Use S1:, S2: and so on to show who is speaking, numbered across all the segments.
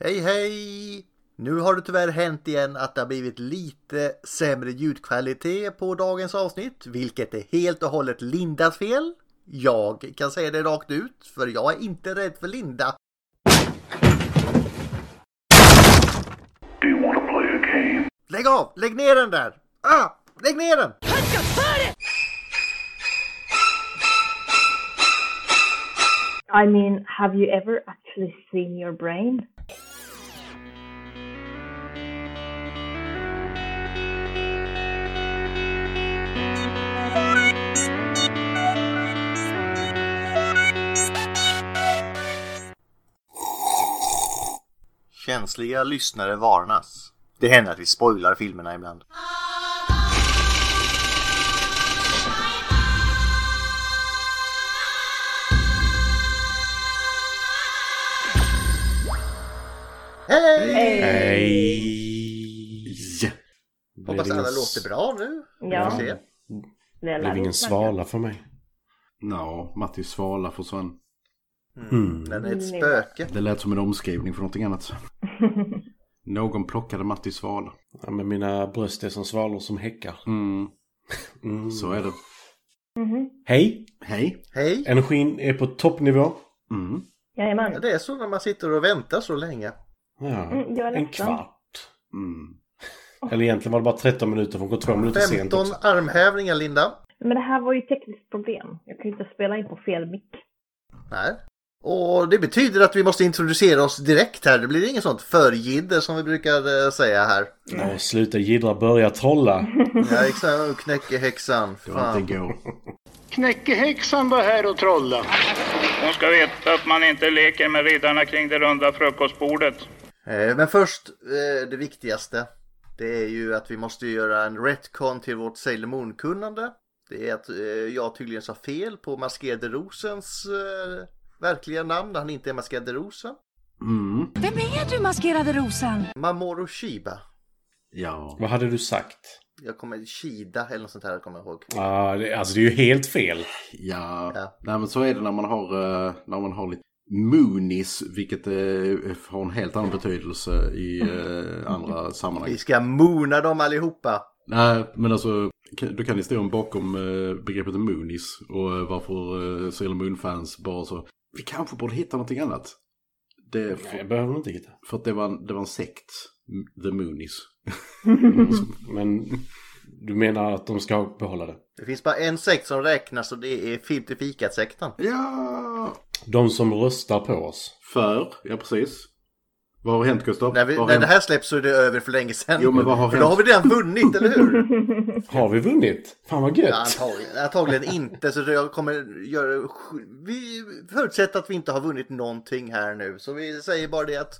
S1: Hej hej! Nu har det tyvärr hänt igen att det har blivit lite sämre ljudkvalitet på dagens avsnitt, vilket är helt och hållet Lindas fel. Jag kan säga det rakt ut, för jag är inte rädd för Linda.
S2: Do you want to play a game?
S1: Lägg av! Lägg ner den där! Ah! Lägg ner den!
S3: I mean, have you ever actually seen your brain?
S1: Känsliga lyssnare varnas. Det händer att vi spoilar filmerna ibland. Hej!
S4: Hej! Blev
S1: Hoppas
S4: ingen
S1: alla
S4: s-
S1: låter bra nu.
S3: Ja,
S1: Vi får se.
S3: det
S4: Blev ingen svala för mig.
S5: Ja, Matti Svala försvann.
S1: Den är ett
S3: Mm.
S1: spöke.
S5: Det lät som en omskrivning för någonting annat. Någon plockade Matti Svala.
S4: Ja, men mina bröst är som svalor som häckar.
S5: Mm,
S4: Mm.
S5: så är det.
S4: Hej!
S5: Hej!
S1: Hej!
S4: Energin är på toppnivå.
S5: Mm.
S1: Ja,
S3: Jajamän.
S1: det är så när man sitter och väntar så länge.
S4: Ja,
S3: Mm, jag är
S4: en
S3: ledsen.
S4: kvart.
S5: Mm.
S4: Eller egentligen var det bara 13 minuter för hon går två minuter sent
S1: 15
S4: också.
S1: armhävningar Linda.
S3: Men det här var ju tekniskt problem. Jag kan ju inte spela in på fel mick.
S1: Nej. Och det betyder att vi måste introducera oss direkt här. Det blir inget sånt förgider som vi brukar eh, säga här.
S4: Nej, sluta jiddra, börja trolla.
S1: Ja, exakt. Knäckehäxan.
S5: Det var
S1: Fan.
S5: inte igår.
S6: Knäckehäxan var här och trollade.
S7: Hon ska veta att man inte leker med riddarna kring det runda frukostbordet.
S1: Eh, Men först, eh, det viktigaste. Det är ju att vi måste göra en retcon till vårt Sailor Moon-kunnande. Det är att eh, jag tydligen sa fel på Maskerade Rosens eh, verkliga namn. Han inte är Maskerade Rosen.
S5: Mm.
S8: Vem är du, maskerade rosen?
S1: Mamoru Shiba.
S5: Ja.
S4: Vad hade du sagt?
S1: Jag kommer Shida eller något sånt här, kommer jag ihåg.
S4: Ah, det, alltså det är ju helt fel.
S5: Ja.
S1: Ja.
S5: Nej men så är det när man har, eh, när man har lite moonis, vilket eh, har en helt annan betydelse i eh, andra sammanhang.
S1: Vi ska mona dem allihopa.
S5: Nej, men alltså, kan- du kan historien bakom eh, begreppet Moonis och eh, varför eh, Sailor Moon-fans bara så, vi kanske borde hitta någonting annat. Det,
S4: Nej, jag
S5: för,
S4: behöver inte hitta.
S5: för att det var, en, det var en sekt, M- The Moonies.
S4: Men du menar att de ska behålla det?
S1: Det finns bara en sekt som räknas och det är film till fikat-sekten.
S5: Ja!
S4: De som röstar på oss.
S5: För, ja precis. Vad har hänt Gustav?
S1: När, vi,
S5: Vad har
S1: när det
S5: hänt?
S1: här släpps så är det över för länge sedan.
S5: Jo, men vad har
S1: för då har
S5: hänt?
S1: vi redan vunnit, eller hur?
S4: Har vi vunnit? Fan vad gött!
S1: Ja, Antagligen, antagligen inte, så jag kommer göra... Vi förutsätter att vi inte har vunnit någonting här nu, så vi säger bara det att...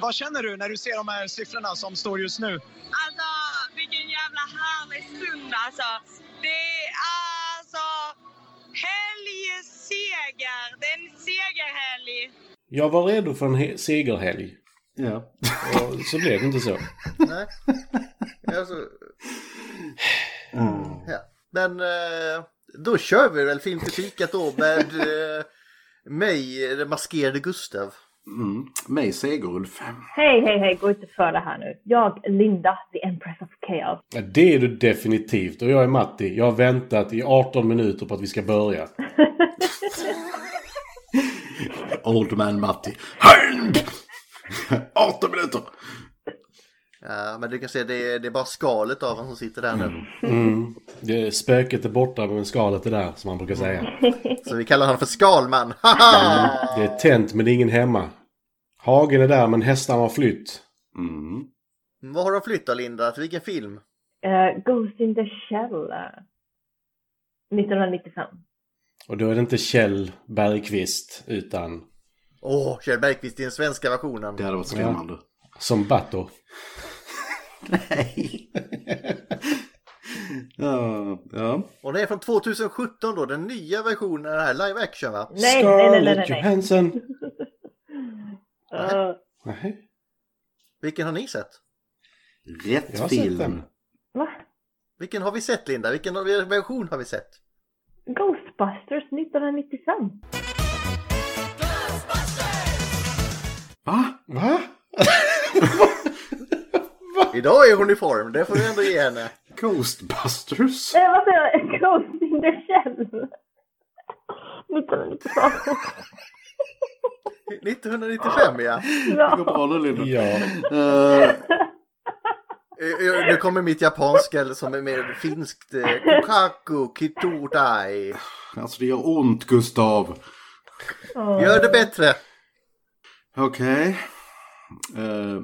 S6: Vad känner du när du ser de här siffrorna som står just nu?
S9: Alltså, vilken jävla härlig stund alltså. Det är alltså helgseger. Det är en segerhelg.
S4: Jag var redo för en he- segerhelg.
S5: Ja.
S4: Och så blev det inte så.
S1: Nej. Alltså,
S5: Mm.
S1: ja. Men eh, då kör vi väl film till fikat då med eh, mig, den maskerade Gustav.
S5: Mm. Mig Segerulf.
S3: Hej, hej, hej, gå inte för det här nu. Jag, Linda, the Empress of Chaos.
S4: Ja, det är du definitivt. Och jag är Matti. Jag har väntat i 18 minuter på att vi ska börja.
S5: Old man Matti. Höjd! 18 minuter!
S1: Ja, men du kan se, det är, det är bara skalet av honom som sitter där nu.
S4: Mm. Det, spöket är borta men skalet är där, som man brukar säga.
S5: Mm.
S1: Så vi kallar honom för Skalman. Haha!
S4: Det är tänt men det är ingen hemma. Hagen är där men hästarna har flytt.
S5: Mm.
S1: Vad har de flyttat Linda? Till vilken film?
S3: Eh, Ghost in the Shell. eh, 1995.
S4: Och då är det inte Kjell Bergqvist utan
S1: Åh, Kjell Bergqvist i den svenska versionen.
S5: Det hade varit skrämmande.
S4: som Bato.
S5: Nej. ja, ja.
S1: Och det är från 2017 då, den nya versionen av det här, live action va?
S3: Nej, nej, nej, nej, nej, nej.
S4: Johansson!
S1: Ah.
S3: Eh,
S4: Nej,
S1: Vilken har ni sett?
S5: Rätt
S4: jag har sett
S5: film.
S4: den.
S3: va?
S1: Vilken har vi sett Linda? Vilken har- vilken version har vi sett?
S3: Ghostbusters 1995.
S5: Va?
S4: Va?
S1: Idag är hon i form, det får vi ändå ge henne.
S5: Ghostbusters?
S3: Eh, vad säger jag? Ghost in the Shell. 1992.
S1: 1995 ja.
S5: Det går
S3: Ja.
S5: bra nu Linda.
S4: Ja.
S5: Eh,
S1: Eh, eh, Nu kommer mitt japanska eller som är mer finskt. eh, Kokaku kitutai.
S5: alltså det gör ont Gustav.
S1: Gör det bättre.
S5: Okej. Eh, Okay.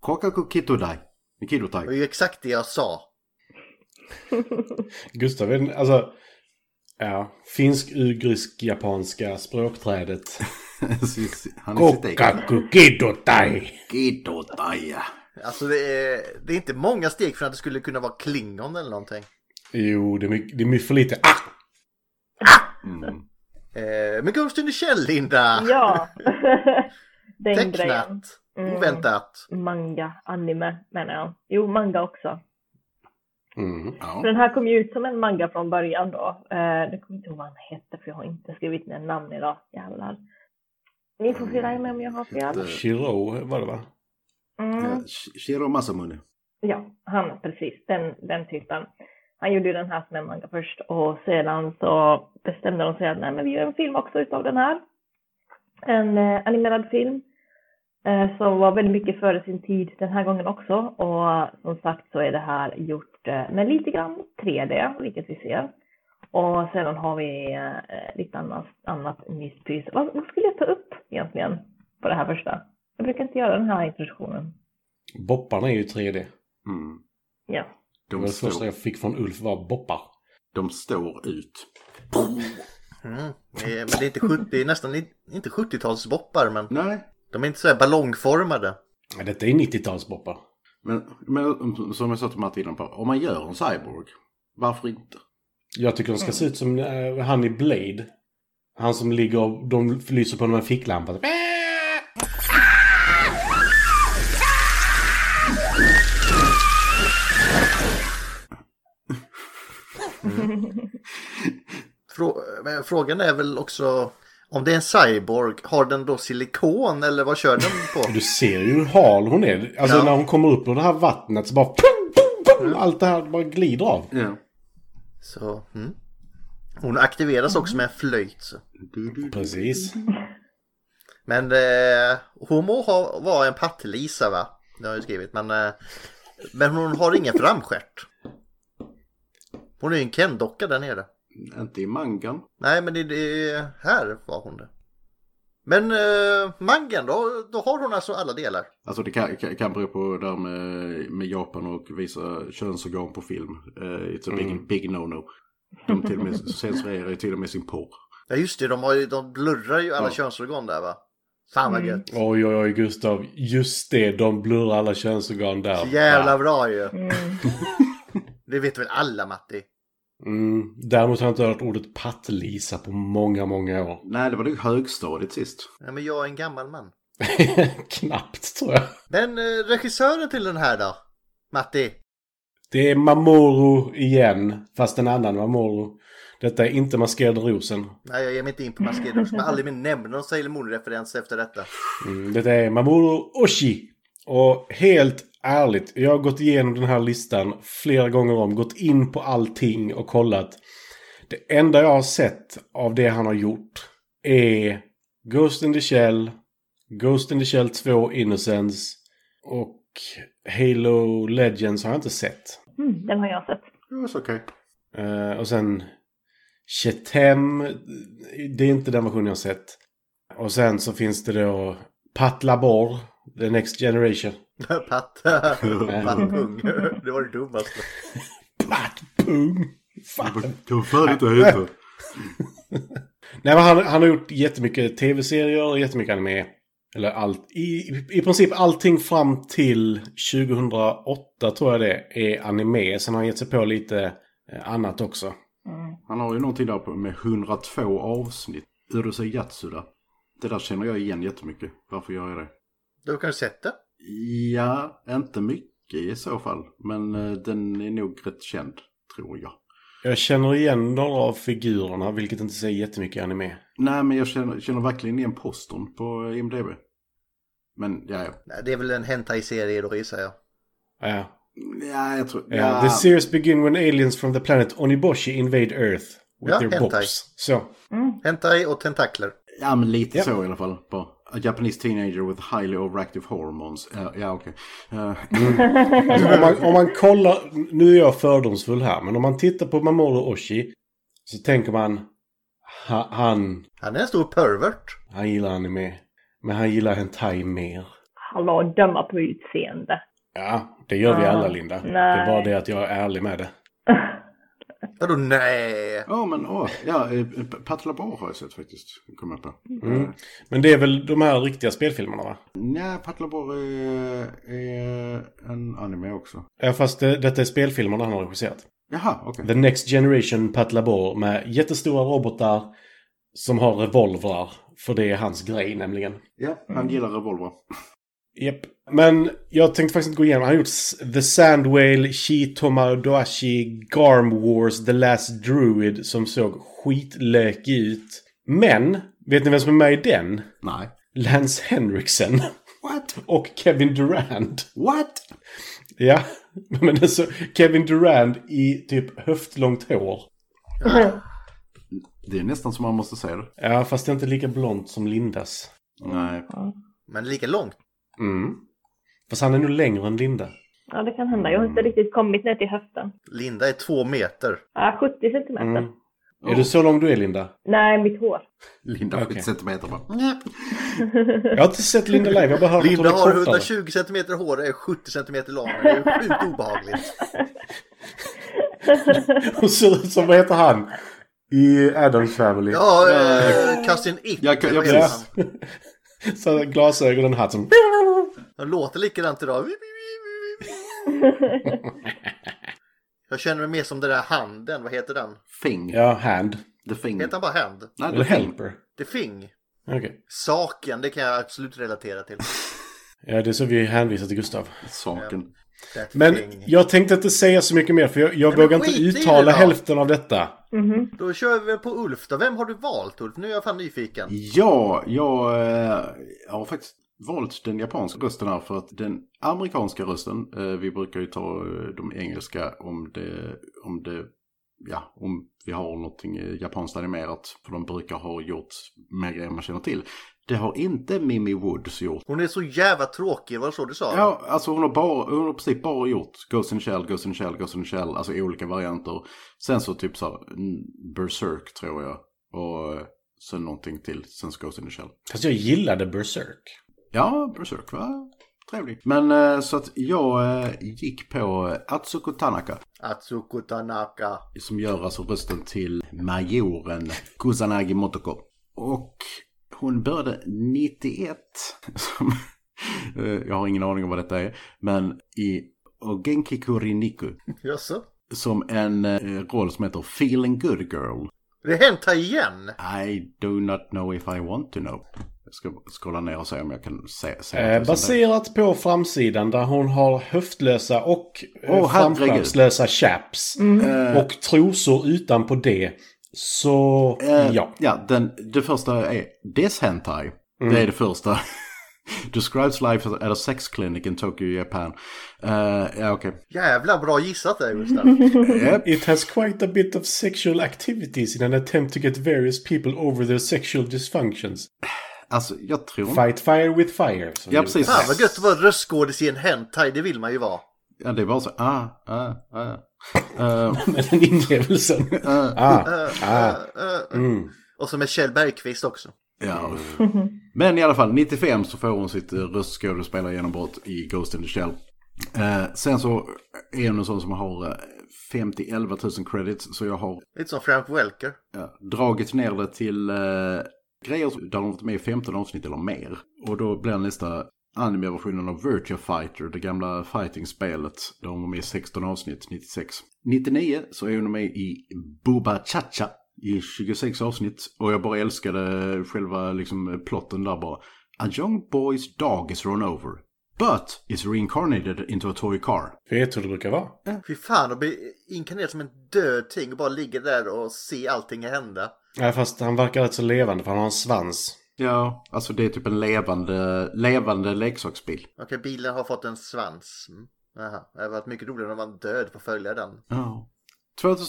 S5: Kokaku Kitodai. Kitodai.
S1: Det var ju exakt det jag sa.
S4: Gustav är den- alltså... Ja, finsk-ugrisk-japanska språkträdet.
S5: Han är sitt eget.
S4: Kokaku kidotai!
S5: Kitodai. ja.
S1: Alltså det är, det är inte många steg från att det skulle kunna vara klingon eller någonting.
S4: Jo, det är mycket, det är mycket för lite. Ah!
S5: Mm.
S1: Eh, Men Ghost in the Shell Linda.
S3: ja. Den grejen.
S1: Tecknat.
S3: Mm.
S1: Oväntat.
S3: Manga, anime menar jag. Jo, manga också.
S4: Mm.
S5: Ja.
S3: För den här kom ju ut som en manga från början då. Eh, det kommer inte ihåg vad han hette för jag har inte skrivit ner namn idag. Jävlar. Ni får fylla i mig om jag har fel.
S5: Hette-
S4: Shiro var det va?
S3: Mm.
S5: Ja, Eh, Sh- Shiro Masamune.
S3: Ja, han precis. Den, den typen. Han gjorde ju den här som en manga först och sedan så bestämde de sig att nej men vi gör en film också utav den här. En eh, animerad film. Eh, som var väldigt mycket före sin tid den här gången också. Och som sagt så är det här gjort eh, med lite grann 3D, vilket vi ser. Och sedan har vi eh, lite annat, annat myspys. Vad, vad skulle jag ta upp egentligen på det här första? Jag brukar inte göra den här introduktionen.
S4: Bopparna är ju 3D.
S5: Mm.
S3: Ja.
S4: Det var
S5: De,
S4: det första
S5: står,
S4: jag fick från Ulf var boppar.
S5: de står ut.
S1: Mm. Eh, Men det är, inte 70, det är nästan i- inte 70-talsboppar men
S5: Nej,
S1: de är inte så här ballongformade.
S4: Ja, detta är 90-talsboppar.
S5: men, men som jag sa till Martin innan på, om man gör en cyborg, varför inte?
S4: Jag tycker de
S1: Mm.
S4: ska se ut som eh, han i Blade. Han som ligger och de lyser på honom med ficklampa.
S1: Frå- men frågan är väl också om det är en cyborg, har den då silikon eller vad kör den på?
S4: Du ser ju hur hal hon är. Alltså
S1: Ja. Mm.
S4: när hon kommer upp ur det här vattnet så bara... Pum, pum, pum, allt det här bara glider av.
S5: Ja.
S1: Så, mm. Hon aktiveras också med en flöjt. Så.
S4: Precis.
S1: Men eh, hon må ha, vara en pattlisa va? Det har jag ju skrivit. Men, eh, men hon har ingen framstjärt. Hon är ju en Ken-docka där nere.
S5: Inte i mangan.
S1: Nej men det, det, här var hon det. Men eh, mangan då, då har hon alltså alla delar.
S5: Alltså det kan, kan, kan bero på det här med, med Japan och visa könsorgan på film. Eh, it's a big, big no-no. De till och med censurerar ju till och med sin porr.
S1: Ja just det, de, har ju, de blurrar ju alla
S5: Ja.
S1: könsorgan där va? Fan vad gött.
S4: Oj, oj, oj, Gustav. Just det, de blurrar alla könsorgan där.
S1: Så jävla
S4: Ja.
S1: bra ju.
S3: Mm.
S1: Det vet väl alla Matti?
S4: Mm. Däremot har jag inte hört ordet pattlisa på många, många år.
S5: Nej, det var det högstadiet sist.
S1: Ja, men jag är en gammal man.
S4: Knappt, tror jag.
S1: Men eh, regissören till den här då? Matti?
S4: Det är Mamoru igen, fast en annan Mamoru. Detta är inte Maskerade Rosen.
S1: Nej, jag ger mig inte in på maskerade. Jag ska aldrig mer nämna någon Sailor Moon-referens efter detta.
S4: Mm, detta är Mamoru Oshii. Och helt ärligt, jag har gått igenom den här listan flera gånger om. Gått in på allting och kollat. Det enda jag har sett av det han har gjort är Ghost in the Shell, Ghost in the Shell 2 Innocence och Halo Legends har jag inte sett.
S3: Mm, den har jag sett.
S5: Det var så okej.
S4: Eh, och sen Chetem. Det är inte den versionen jag har sett. Och sen så finns det då Patlabor. The Next Generation.
S1: Patt... Pattung. Det var det dummaste.
S4: Platpung! Fan.
S5: Det var fan inte heta.
S4: Nej men han, han har gjort jättemycket tv-serier och jättemycket anime. Eller allt. I, I princip allting fram till 2008 tror jag det är anime. Sen har han gett sig på lite eh, annat också.
S3: Mm.
S5: Han har ju någonting där på- med 102 avsnitt. Urusei Yatsuda. Det där känner jag igen jättemycket. Varför gör jag det?
S1: Du har kanske sett det?
S5: Ja, inte mycket i så fall. Men eh, den är nog rätt känd, tror jag.
S4: Jag känner igen några av figurerna, vilket inte säger jättemycket i anime.
S5: Nej, men jag känner, känner verkligen igen postern på IMDB. Men ja, ja.
S1: Nej, det är väl en hentai-serie då gissar jag.
S4: Ja.
S5: Ja, jag tror...
S4: Ja, Eh, The series begin when aliens from the planet Oniboshi invade Earth with
S1: Ja,
S4: their
S1: hentai.
S4: bops. Så.
S1: Hentai och tentakler.
S5: Ja, men lite
S4: Ja.
S5: så i alla fall. Bara, a Japanese teenager with highly overactive hormones. Ja, ja okej. Eh,
S4: Alltså, om, man, om man kollar, nu är jag fördomsfull här, men om man tittar på Mamoru Oshii så tänker man ha, han,
S1: Han är en stor pervert.
S4: han gillar anime, men han gillar hentai mer.
S3: Hallå, döma på utseende.
S4: Ja, det gör vi
S3: Ah,
S4: alla Linda. Det är
S3: nej.
S4: bara det att jag är ärlig med det.
S1: Vadå nej?
S5: Ja, men åh, ja, eh, P- Patla Bar har jag sett faktiskt. Kommer jag på. Eh,
S4: Mm. Men det är väl de här riktiga spelfilmerna va?
S5: Nej, Patla Bar är, är en anime också.
S4: Ja, fast det, detta är spelfilmerna han har regisserat.
S5: Jaha, okej.
S4: The Next Generation Pat Labor med jättestora robotar som har revolvrar. För det är hans grej nämligen.
S5: Ja, han gillar revolver.
S4: Japp. Men jag tänkte faktiskt inte gå igenom. Han har gjort S- The Sand Whale, Shitoma Doashi, Garm Wars, The Last Druid som såg skitlökig ut. Men, vet ni vem som är med i den?
S5: Nej.
S4: Lance Henriksen
S5: What?
S4: och Kevin Durant.
S5: What?
S4: Ja, men alltså Kevin Durant i typ höftlångt hår.
S5: Det är nästan som man måste säga det.
S4: Ja, fast det är inte lika blont som Lindas.
S5: Nej.
S1: Men lika långt.
S4: Mm. Fast han är nog längre än Linda.
S3: Ja, det kan hända. Jag har inte riktigt kommit ner till höften.
S1: Linda är två meter.
S3: Ja, 70 centimeter.
S4: Mm. Är du så lång du är, Linda?
S3: Nej, mitt hår.
S5: Linda
S4: Okej.
S5: 70 centimeter Oh, bara. Nej.
S4: Jag har inte sett Linda live, jag bara hört att hon
S1: Linda
S4: är
S1: har
S4: kortare.
S1: 120 centimeter hår och är 70 centimeter lång. Det är sjukt obehagligt.
S4: Hon ser ut som, vad heter han? I Adams Family.
S1: Ja, eh, Cousin Ick.
S5: Jag kan- jag
S1: eller vad heter
S5: precis.
S1: han?
S4: Så här glasögon och en hatt som...
S1: Han låter likadant idag. Jag känner mig mer som den där handen. Vad heter
S5: Mm.
S1: den?
S5: Thing.
S4: Ja, hand.
S5: The thing.
S1: Heter han bara hand?
S5: Nej,
S4: Eller
S5: the thing.
S4: helper.
S1: The thing.
S4: Okej.
S1: Saken, det kan jag absolut relatera till.
S4: Ja, det är så vi hänvisar till Gustav.
S5: Saken.
S1: That
S4: Men
S1: thing.
S4: jag tänkte inte säga så mycket mer, för jag, jag
S1: men
S4: vågar inte
S1: skit i det
S4: uttala
S1: då.
S4: hälften av detta.
S1: Då kör vi väl på Ulf då. Vem har du valt Ulf? Nu är jag fan nyfiken.
S5: Ja, jag, eh, jag har faktiskt valt den japanska rösten här för att den amerikanska rösten, eh, vi brukar ju ta eh, de engelska om det, om det, ja, om vi har någonting eh, japanskt animerat, för de brukar ha gjort mer grejer man känner till. Det har inte Mimi Woods gjort.
S1: Hon är så jävla tråkig, var det så du sa?
S5: Ja, alltså hon har, bara, hon har precis bara gjort Ghost in the Shell, Ghost in the Shell, Ghost in the Shell, alltså olika varianter. Sen så typ så här, mm, Berserk tror jag, och eh, sen någonting till, sen så Ghost in the Shell.
S4: Fast jag gillade Berserk.
S5: Ja, Berserk va? Trevligt. Men eh, så att jag eh, gick på eh, Atsuko Tanaka
S1: Atsuko Tanaka.
S5: som gör alltså rösten till majoren Kusanagi Motoko. Och hon började 91. Som, eh, jag har ingen aning om vad detta är. Men i Ogenki Kuriniku.
S1: Jaså?
S5: Som en eh, roll som heter Feeling Good Girl.
S1: Det hände igen!
S5: I do not know if I want to know. Jag ska scrolla ner och se om jag kan se. se
S4: Eh, baserat på framsidan där hon har höftlösa och eh,
S5: Åh, herregud. Mm.
S4: framskärmslösa chaps. Och trosor utanpå det. Så
S5: Eh,
S4: ja.
S5: ja den, det första är This Hentai.
S1: Mm.
S5: Det är det första. Describes life at a sex clinic in Tokyo, Japan. Eh, ja, okej.
S1: Jävla bra gissat där Gustav.
S5: Yep.
S4: It has quite a bit of sexual activities in an attempt to get various people over their sexual dysfunctions.
S5: Alltså, jag tror...
S4: Fight fire with fire. som
S5: Ja,
S4: det-
S5: precis.
S1: Fan vad gött att vara röstskådis i en hentai, det vill man ju vara.
S5: Ja, det är bara så... Ah, ah, ah. Eh,
S4: Men den inlevelsen. ah, ah. Mm.
S1: Och så med Kjell Bergqvist också.
S5: ja. Men i alla fall, 95 så får hon sitt eh, röstskådespelargenombrott i Ghost in the Shell. Eh, sen så är hon en sån som har eh, 50 11 000 credits, så jag har
S1: Lite som Frank Welker.
S5: ja, dragit ner det till eh, grejer som- där de varit med i 15 avsnitt eller mer. Och då blir nästa animeversionen av Virtua Fighter, det gamla fighting-spelet, där hon var med i 16 avsnitt 96. 99 så är hon med i Boba Chacha i 26 avsnitt och jag bara älskade själva liksom plotten där bara. A young boy's dog is run over, but is reincarnated into a toy car.
S4: Vet hur det brukar vara.
S1: Fy fan att bli inkarnerad som en död ting och bara ligga där och se allting hända.
S4: Ja, Äh, fast han verkar rätt så levande för han har en svans.
S5: Ja, alltså det är typ en levande, levande leksaksbil.
S1: Okej, bilen har fått en svans. Mm. Ja. Jaha, det hade varit mycket roligare om man död får följa den.
S5: Ja.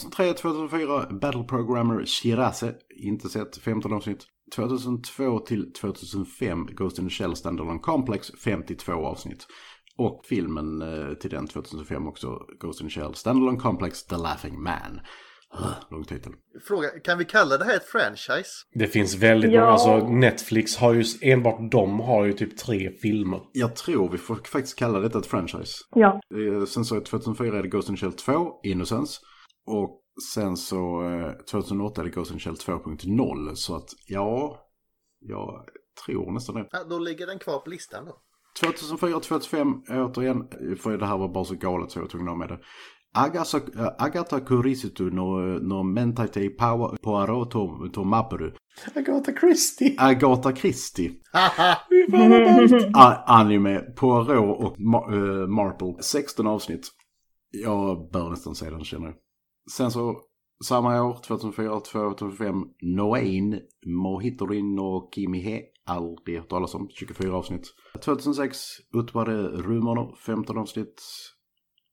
S5: 2003-2004 Battle Programmer Shirase, inte sett, 15 avsnitt. 2002 till 2005 Ghost in the Shell Standalone Complex, 52 avsnitt. Och filmen eh, till den 2005 också, Ghost in the Shell Standalone Complex The Laughing Man. Ugh, Lång titel.
S1: Fråga, kan vi kalla det här ett franchise?
S4: Det finns väldigt
S3: Ja.
S4: många. Alltså Netflix har ju, enbart de har ju typ tre filmer.
S5: Jag tror vi får faktiskt kalla detta ett franchise.
S3: Ja,
S5: Eh, Sen så 2004 är det Ghost in the Shell 2, Innocence. Och sen så eh, 2008 är det Ghost in the Shell 2.0. Så att ja, jag tror nästan det.
S1: Ja, då ligger den kvar på listan då.
S5: 2004, 2005, återigen, för det här var bara så galet så jag var tvungen att ha med det. Agasa, eh, Agatha Kurisitu no, no Mentaitei Pawa Poirot to, to Mapuru.
S4: Agatha Christie!
S5: Agatha Christie.
S1: Haha!
S4: Fy fan vad ballt!
S5: A- Ah, anime, Poirot och Ma- eh, Marple. 16 avsnitt. Jag bör nästan se den känner jag. Sen så samma år, 2004, 2005, Noain, Mohitorin och Kimihe. Aldrig hört talas om, 24 avsnitt. 2006, Utware Rumono, 15 avsnitt.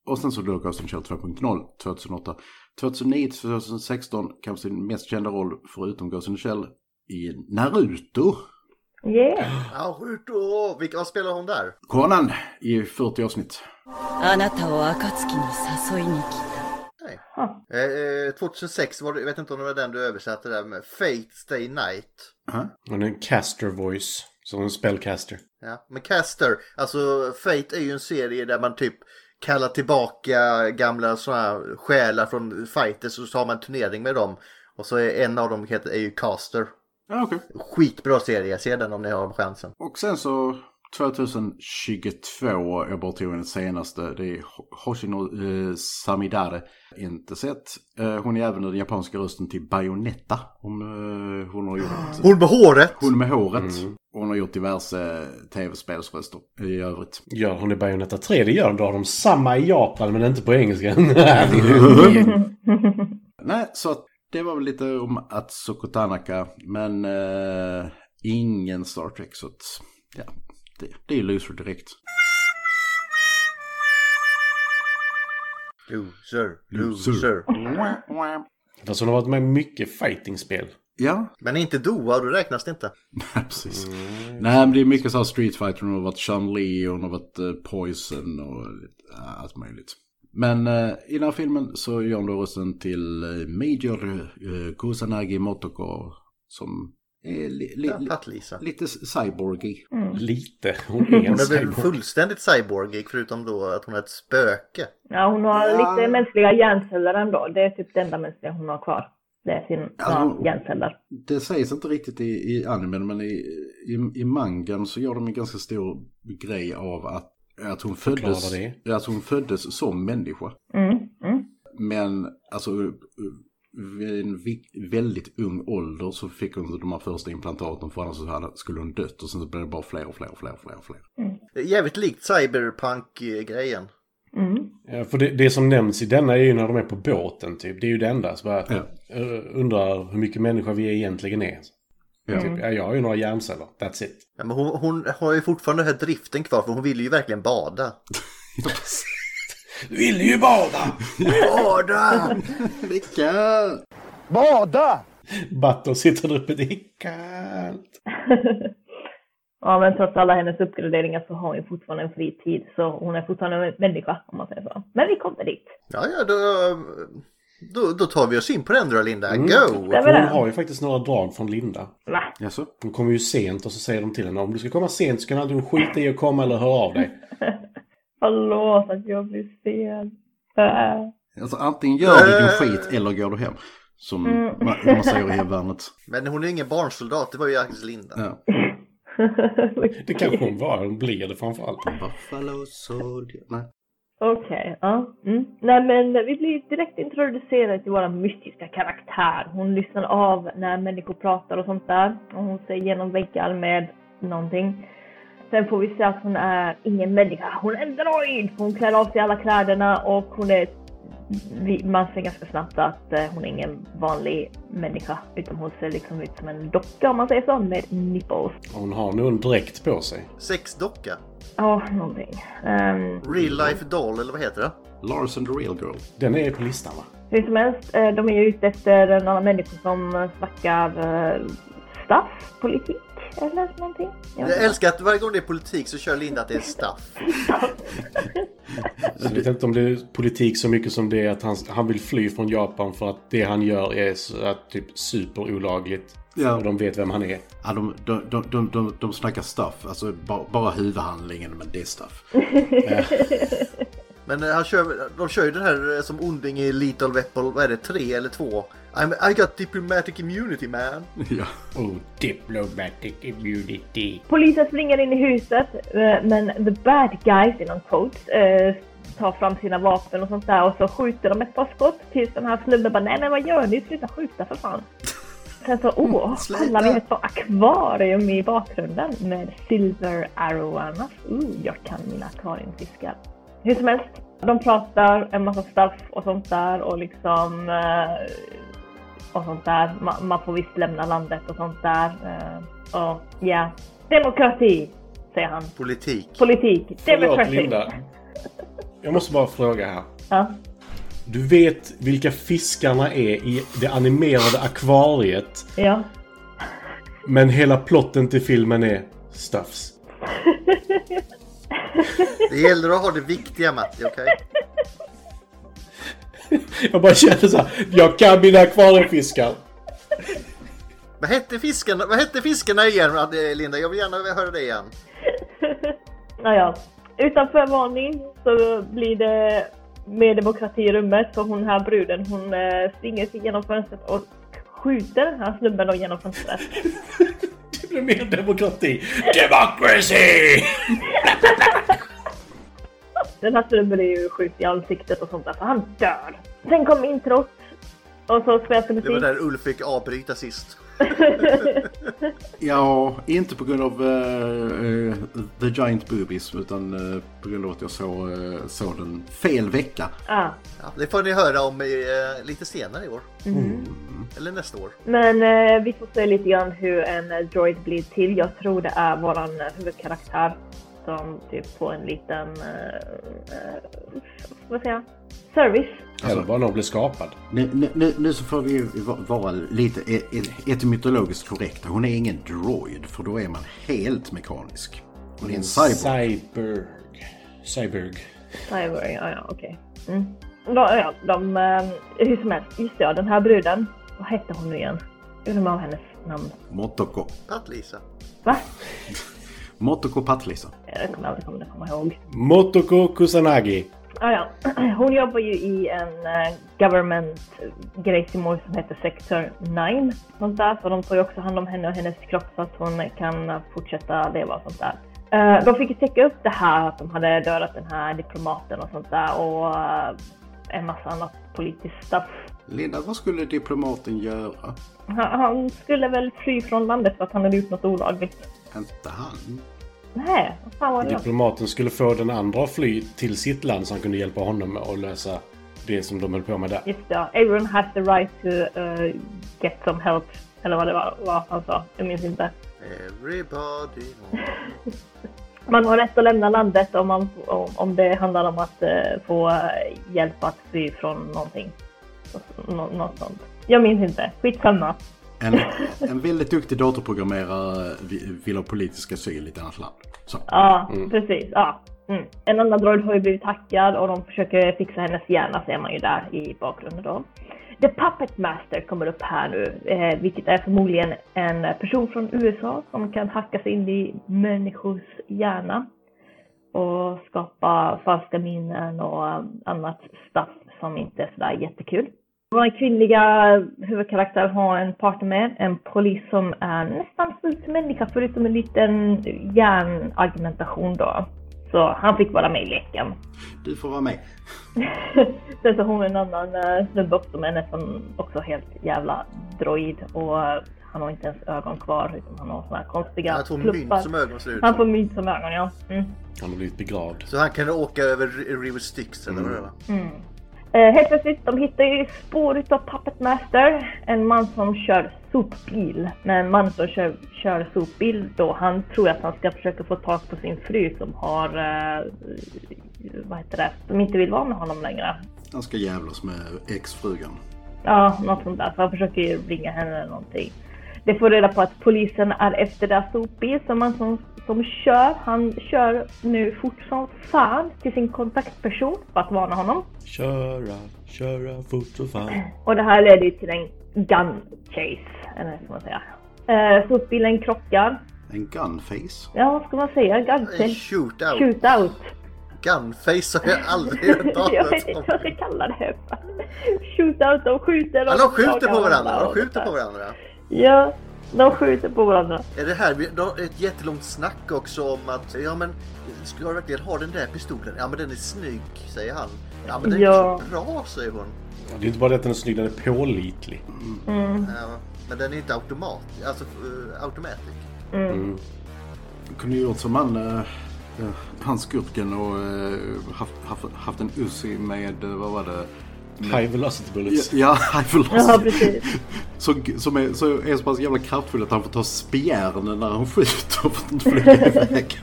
S5: Och sen så då Ghost in the Shell 2.0, 2008. 2009 till 2016, kanske sin mest kända roll förutom Ghost in the Shell, i Naruto.
S3: yeah.
S1: Ja, skjut då! Vilka, vad spelar hon där?
S5: Conan i 40 avsnitt.
S8: あなたを暁に誘いに来た
S1: Nej.
S3: Ha.
S1: Eh, Eh, 2006 var det, jag vet inte om det var den du översatte där med, Fate Stay Night.
S4: Hon är en caster voice. Så en spellcaster.
S1: Ja, men Caster, alltså Fate är ju en serie där man typ kallar tillbaka gamla sådana här själar från fighters och så har man en turnering med dem. Och så är en av dem heter, är ju Caster.
S5: Ja, okej.
S1: Skitbra serie, se den om ni har chansen.
S5: Och sen så 2022, jag bara tog den senaste, det är Hoshino eh, Samidare. Inte sett. Eh, hon är även den japanska rösten till Bayonetta. Hon, eh, hon har gjort...
S1: Hon med håret!
S5: Hon med håret. Hon har gjort diverse tv-spelsröster i övrigt.
S4: Gör hon i Bayonetta 3? Det gör hon. Då har de samma i Japan men inte på engelska. Nej.
S5: Nej, så att det var väl lite om Atsuko Tanaka, men eh, ingen Star Trek, så att, ja, det, det är loser direkt.
S1: Loser,
S5: Loser.
S1: loser.
S4: Fast hon har varit med i mycket fightingspel.
S5: Ja,
S1: Men inte Doa, då räknas det inte.
S5: Nej, precis. Nej, men det är mycket så här Street Fighter. Hon har varit Chun-Li, hon har varit eh, Poison och lite, ja, allt möjligt. Men eh, i den här filmen så gör hon då rösten till eh, Major eh, Kusanagi Motoko som är li, li,
S1: Ja,
S5: li,
S1: Patt-Lisa.
S5: lite cyborgy.
S4: Lite. Hon är en
S1: Hon är väl
S4: cyborg.
S1: fullständigt cyborgig förutom då att hon är ett spöke.
S3: Ja, hon har
S5: Ja.
S3: lite mänskliga hjärnceller ändå. Det är typ det enda mänskliga hon har kvar. Det är sina
S5: Alltså-
S3: hjärnceller.
S5: Det sägs inte riktigt i, i animen, men i, i, i mangan så gör de en ganska stor grej av att, att, hon,
S4: Förklara
S5: föddes,
S4: det.
S5: att hon föddes som människa.
S3: Mm, mm.
S5: Men alltså vid en vi- väldigt ung ålder så fick hon de här första implantaten för annars så hade- skulle hon dött och sen så blev det bara fler och fler och fler och fler. Och fler.
S1: Jävligt likt cyberpunk-grejen.
S3: Mm.
S4: Ja, För det, det som nämns i denna är ju när de är på båten typ. Det är ju det enda. Så bara, eh, undrar hur mycket människa vi egentligen är.
S5: Ja.
S4: Typ, ja, jag har ju några hjärnceller. That's it.
S1: Ja, men hon, hon har ju fortfarande den här driften kvar för hon vill ju verkligen bada.
S4: Du vill ju bada!
S1: Bada!
S5: Vilka?
S4: Bator sitter där uppe. Det är kallt.
S3: Ja, men trots alla hennes uppgraderingar så har hon ju fortfarande en fri tid. Så hon är fortfarande en människa om man säger så. Men vi kommer dit.
S1: Ja, ja, då, då, då tar vi oss in på den då, Linda. Go!
S3: Det var
S4: Hon
S3: det.
S4: har ju faktiskt några drag från Linda.
S3: Va?
S5: Jaså?
S4: Hon kommer ju sent och så säger de till henne om du ska komma sent så kan antingen skita i att komma eller höra av dig.
S3: Förlåt att jag blir sen. Äh.
S5: Alltså antingen gör du din skit eller går du hem. Som
S3: Mm.
S5: man, man säger i hemvärnet.
S1: Men hon är ju ingen barnsoldat, det var ju faktiskt Linda.
S5: Ja.
S4: Det kanske hon var. Hon blir det framförallt.
S5: Buffalo soldier. Nej.
S3: Okej, ja. Mm. Nej men vi blir direkt introducerade till våra mystiska karaktär. Hon lyssnar av när människor pratar och sånt där. Och hon ser genom väggar med någonting. Sen får vi se att hon är ingen människa. Hon är en droid! Hon klär av sig alla kläderna och hon är vi, man ser ganska snabbt att eh, hon är ingen vanlig människa utan hon ser liksom ut som en docka om man säger så med nipples.
S4: Hon har nog en dräkt på sig.
S1: Sexdocka?
S3: Ja, någonting. Ehm,
S1: Real life doll, eller vad heter det?
S5: Lars and the Real Girl.
S4: Den är på listan va?
S3: hur som helst, eh, de är ju ute efter några människor som eh, snackar eh, staff, politik eller någonting. Jag vet
S1: Jag älskar att varje gång det är politik så kör Linda att det är staff.
S4: Så jag vet inte om det är politik så mycket som det är att han, han vill fly från Japan för att det han gör är så att, typ superolagligt.
S5: Ja.
S4: Och de vet vem han är.
S5: Ja, de, de, de, de, de, de snackar stuff, alltså bara, bara huvudhandlingen, men det är stuff.
S1: Men eh, han kör, de kör ju den här eh, som onding i Little Weapon, vad är det, tre eller två? I'm, I got diplomatic immunity man.
S5: ja.
S4: Oh, diplomatic immunity.
S3: Polisen springer in i huset eh, men the bad guys inom quotes eh, tar fram sina vapen och sånt där och så skjuter de ett par skott tills den här snubben bara nej men vad gör ni? Sluta skjuta för fan. Sen så åh,
S1: Sluta.
S3: alla vi har ett par akvarium i bakgrunden med silver arrowarna. Ooh, jag kan mina akvariumfiskar. Hur som helst, de pratar en massa stuff och sånt där och liksom eh, och sånt där. Ma- man får visst lämna landet och sånt där. Eh, och ja, demokrati säger han.
S1: Politik.
S3: Politik,
S4: Förlåt
S3: demokrati.
S4: Linda. Jag måste bara fråga här.
S3: Ja.
S4: Du vet vilka fiskarna är i det animerade akvariet.
S3: ja.
S4: Men hela plotten till filmen är stuffs.
S1: Det gäller att ha det viktiga Matti, okej?
S4: Jag bara kände så här, jag kan mina akvariefiskar.
S1: Vad hette fiskarna, vad hette fiskarna igen eh, Linda? Jag vill gärna höra det igen.
S3: Naja. Utan förvarning så blir det mer demokrati i rummet för hon här bruden hon eh, springer sig genom fönstret och skjuter den här snubben då genom fönstret.
S4: Det blir mer demokrati. Democracy!
S3: Den här snubben är ju sjuk i ansiktet och sånt där så han dör. Sen kom introt och så spelas det
S1: Det var
S3: musik.
S1: där Ulf fick avbryta sist.
S5: ja, inte på grund av eh, eh, The Giant Boobies, utan eh, på grund av att jag såg eh, såg den fel vecka.
S3: Ah.
S1: Ja, det får ni höra om eh, lite senare i år.
S3: Mm.
S1: Eller nästa år.
S3: Men eh, vi får se lite grann hur en eh, droid blir till. Jag tror det är våran eh, huvudkaraktär som typ får en liten, eh, eh, vad säger jag, service.
S5: Alltså-
S4: Eller bara någon blev skapad.
S5: Nu, nu- nu, nu så får vi ju va- vara lite e- e- etymologiskt korrekta. Hon är ingen droid, för då är man helt mekanisk. Hon är en cyborg.
S4: Cyberg. Cyberg.
S3: Cyber, ja, ja, okej. Mm. Då, ja, de, eh, hur som helst, just det, ja, den här bruden, vad hette hon nu igen? Jag glömmer av hennes namn.
S5: Motoko.
S1: Patt-Lisa.
S3: Va?
S5: Motoko Patlisa.
S3: Jag kommer aldrig komma, komma ihåg.
S4: Motoko Kusanagi.
S3: Ah, ja. Hon jobbar ju i en eh, government grejsimor som heter Sector 9. Sånt där. Så de tar ju också hand om henne och hennes kropp så att hon kan eh, fortsätta leva och sånt där. Eh, de fick ju täcka upp det här att de hade dödat den här diplomaten och sånt där och eh, en massa annat politiskt stuff.
S5: Linda, vad skulle diplomaten göra?
S3: Han, han skulle väl fly från landet för att han hade gjort något olagligt.
S5: Inte han.
S3: Nej, vad fan var det då?
S4: Diplomaten skulle få den andra att fly till sitt land så han kunde hjälpa honom att lösa det som de höll på med där.
S3: Just det, ja. everyone has the right to eh, get some help. Eller vad det var, vad han sa. Jag minns inte.
S1: Everybody knows.
S3: Man har rätt att lämna landet om, man, om, om det handlar om att eh, få eh, hjälp att fly från någonting. Nå, något sånt. Jag minns inte. Skitsamma.
S5: En, en väldigt duktig datorprogrammerare vi- vill ha politisk asyl i ett annat land. Så.
S3: Ja, precis. Ja. Mm. En annan droid har ju blivit hackad och de försöker fixa hennes hjärna ser man ju där i bakgrunden då. The Puppet Master kommer upp här nu, eh, vilket är förmodligen en person från USA som kan hacka sig in i människors hjärna och skapa falska minnen och eh, annat stuff som inte är sådär jättekul. Vår kvinnliga huvudkaraktär har en partner med, en polis som är nästan ser ut som människa förutom en liten hjärnargumentation då. Så han fick vara med i leken.
S5: Du får vara med.
S3: Sen så har hon en annan eh, snubbe också som är nästan också helt jävla droid och eh, han har inte ens ögon kvar utan han har såna här konstiga
S1: Han tog
S3: pluppar.
S1: mynt som ögon ser ut
S3: Han får
S1: som.
S3: mynt som ögon, ja. Mm.
S4: Han har blivivit begravd.
S1: Så han kan åka över River Styx eller vad det var.
S3: Mm. Eh, helt plötsligt, de hittar ju spår utav Puppet Master. En man som kör sopbil. Men mannen som kör, kör sopbil då, han tror att han ska försöka få tag på sin fru som har... Eh, vad heter det? Som inte vill vara med honom längre.
S5: Han ska jävlas med exfrugan.
S3: Ja, något sånt där. Så han försöker ju ringa henne eller någonting. Det får reda på att polisen är efter deras sopbil som han som, som kör. Han kör nu fort som fan till sin kontaktperson för att varna honom.
S4: Köra, köra fort som fan.
S3: Och det här leder ju till en gun chase, eller vad ska man säga. Eh, sopbilen krockar.
S5: En gunface.
S3: Ja, vad ska man säga? Gun
S1: En
S3: chase?
S1: shootout.
S3: Shootout.
S1: Gunface har jag aldrig hört
S3: jag
S1: talas
S3: vet inte
S1: om.
S3: vad jag ska kalla det. Shootout, de skjuter
S1: Ja, de skjuter på
S3: jagar
S1: varandra. De
S3: och
S1: skjuter
S3: sådär.
S1: på varandra.
S3: Ja, de skjuter på varandra.
S1: Är det här vi- då- ett jättelångt snack också om att ja men ska du verkligen ha den där pistolen? Ja men den är snygg säger han. Ja men den
S3: Ja.
S1: är så bra säger hon.
S4: Det är inte bara det att den är snygg, den är pålitlig.
S1: Ja, men den är inte automat, alltså uh, automatic.
S5: Kunde ju gjort som han, eh, eh, han skurken och eh, haft, haft, haft en Uzi med, eh, vad var det?
S4: High velocity bullets.
S5: Mm. Ja, high
S3: Ja,
S5: velocity.
S3: precis.
S5: Som, som är, så är så pass jävla kraftfull att han får ta spjärn när han skjuter för att inte flyga iväg.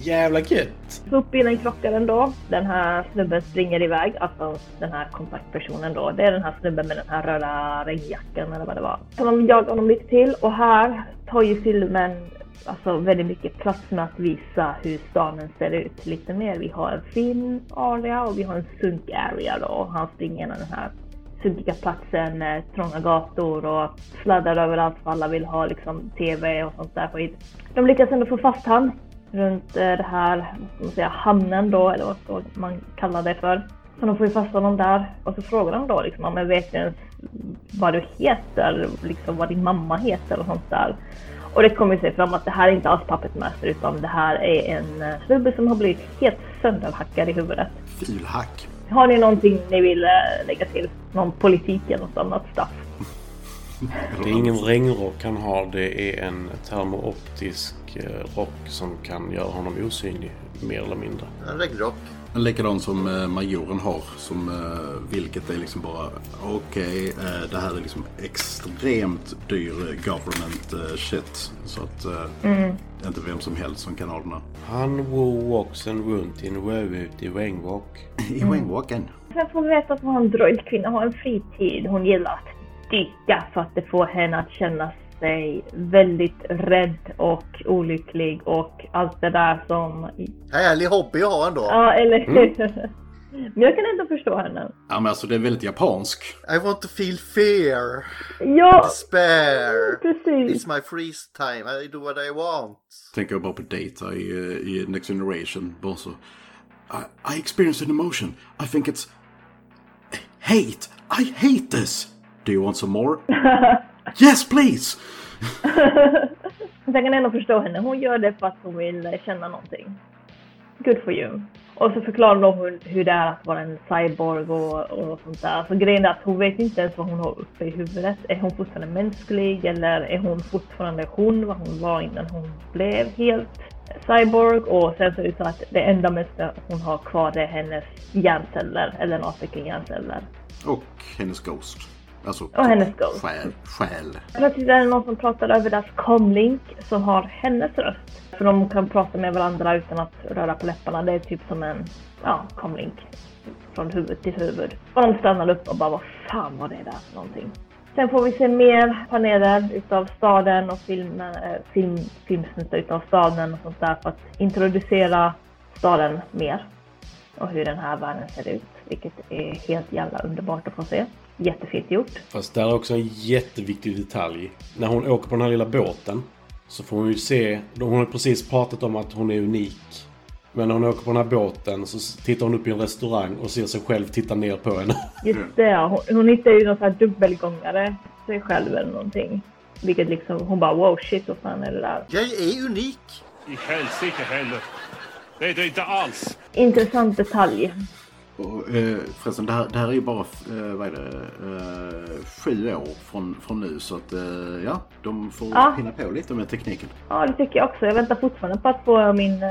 S4: Jävla gött!
S3: Sopbilen krockar ändå. Den här snubben springer iväg, alltså den här kontaktpersonen då. Det är den här snubben med den här röda regnjackan eller vad det var. Så de jagar honom lite till och här tar ju filmen alltså väldigt mycket plats med att visa hur staden ser ut lite mer. Vi har en fin area och vi har en sunk area då och han springer genom den här sunkiga platsen, eh, trånga gator och sladdar överallt för alla vill ha liksom TV och sånt där skit. De lyckas ändå få fast han runt eh, det här, vad ska man säga, hamnen då, eller vad ska man kalla det för. Så de får ju fast honom där och så frågar de då liksom, "Ja, men vet du ens vad du heter, liksom vad din mamma heter och sånt där. Och det kommer ju sig fram att det här är inte alls Puppet Master utan det här är en eh, snubbe som har blivit helt sönderhackad i huvudet.
S5: Filhack.
S3: Har ni någonting ni vill eh, lägga till? Någon politik eller något annat stuff?
S4: Det är ingen regnrock han har, det är en termooptisk eh, rock som kan göra honom osynlig, mer eller mindre.
S1: En regnrock.
S5: En likadan som eh, majoren har, som, eh, vilket är liksom bara okej, eh, det här är liksom extremt dyr eh, government eh, shit. Så att eh, det är inte vem som helst som kan ha den här.
S4: Han wo walks and runt in wo ut i regnrock.
S5: I wingwalken.
S3: Sen får vi veta att hon droidkvinna har en fritid. Hon gillar att dyka för att det får henne att känna sig väldigt rädd och olycklig och allt det där som...
S1: Härlig hobby jag har ändå.
S3: Ja, eller hur? Men jag kan ändå förstå henne.
S5: Ja men alltså det är väldigt japansk.
S1: I want to feel fear,
S3: Ja,
S1: despair.
S3: precis.
S1: It's my freeze time, I do what I want.
S5: Tänker jag bara på Data i, eh, i Next Generation. Bara så. I, I experience an emotion. I think it's hate. I hate this. Do you want some more? yes please!
S3: Men jag kan ändå förstå henne. Hon gör det för att hon vill känna någonting. Good for you. Och så förklarar de hur, hur det är att vara en cyborg och, och sånt där. Så grejen är att hon vet inte ens vad hon har uppe i huvudet. Är hon fortfarande mänsklig eller är hon fortfarande hon, vad hon var innan hon blev helt cyborg? Och sen så är det så att det enda mesta hon har kvar det är hennes hjärnceller eller några stycken hjärnceller.
S5: Och hennes Ghost. Alltså,
S3: Och hennes Ghost.
S5: Själ. själ.
S3: Plötsligt är det någon som pratar över deras comlink som har hennes röst. För de kan prata med varandra utan att röra på läpparna. Det är typ som en ja, comlink. Från huvud till huvud. Och de stannar upp och bara vad fan var det där för någonting? Sen får vi se mer paneler utav staden och filmen, eh, film, filmsnuttar utav staden och sånt där för att introducera staden mer och hur den här världen ser ut. Vilket är helt jävla underbart att få se. Jättefint gjort.
S4: Fast där är också en jätteviktig detalj. När hon åker på den här lilla båten så får hon ju se... Hon har precis pratat om att hon är unik. Men när hon åker på den här båten så tittar hon upp i en restaurang och ser sig själv titta ner på henne.
S3: Just det, ja. hon, hon hittar ju någon sån här dubbelgångare sig själv eller någonting. Vilket liksom, hon bara wow shit vad fan är det där?
S1: Jag är unik.
S10: I helsike heller. Det är det inte alls.
S3: Intressant detalj.
S5: Och, eh, förresten, det här, det här är ju bara eh, vad är det, eh, sju år från, från nu så att eh, ja, de får
S3: Ja.
S5: hinna på lite med tekniken.
S3: Ja, det tycker jag också. Jag väntar fortfarande på att få min, eh,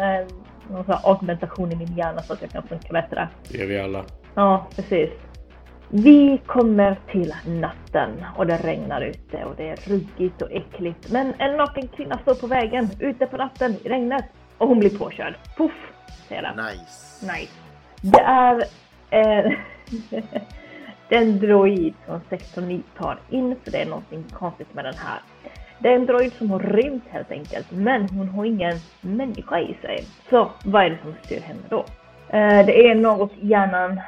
S3: någon sån här augmentation i min hjärna så att jag kan funka bättre.
S4: Det är vi alla.
S3: Ja, precis. Vi kommer till natten och det regnar ute och det är ruggigt och äckligt. Men en naken kvinna står på vägen ute på natten i regnet och hon blir påkörd. Puff, säger den.
S1: Nice.
S3: Nej. Det är eh, det är en droid från sektor 9 tar in för det är någonting konstigt med den här. Det är en droid som har rymt helt enkelt, men hon har ingen människa i sig. Så vad är det som styr henne då? Eh, det är något i hjärnan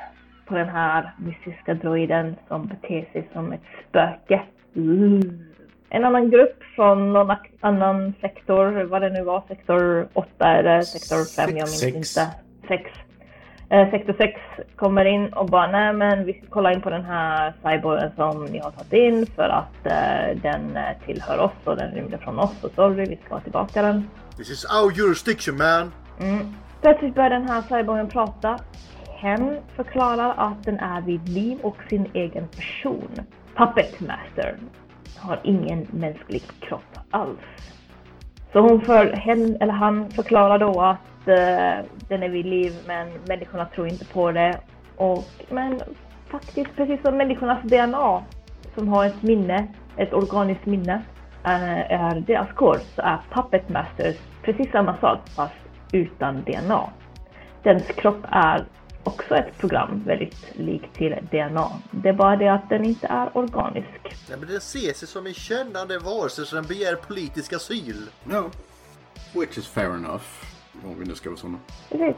S3: på den här mystiska droiden som beter sig som ett spöke. Mm. En annan grupp från någon ak- annan sektor, vad det nu var, sektor 8 eller sektor 5, jag minns
S4: Sex.
S3: inte. 6. Eh, sektor 6 kommer in och bara, nej men vi ska kolla in på den här cyborgen som ni har tagit in för att eh, den eh, tillhör oss och den rymde från oss och sorry, vi ska ha tillbaka den.
S1: This is our jurisdiction man.
S3: Mm. Plötsligt börjar den här cyborgen prata. Hen förklarar att den är vid liv och sin egen person. Puppet Master har ingen mänsklig kropp alls. Så hon för, hen, eller han förklarar då att eh, den är vid liv men människorna tror inte på det. Och, men faktiskt precis som människornas DNA som har ett minne, ett organiskt minne, eh, är deras kod så är Puppet Masters precis samma sak fast utan DNA. Dens kropp är också ett program väldigt likt till DNA. Det är bara det att den inte är organisk.
S1: Nej, men den ser sig som en kännande varelse så den begär politisk asyl.
S5: Ja. Which is fair enough. Om vi nu ska vara sådana.
S3: Precis.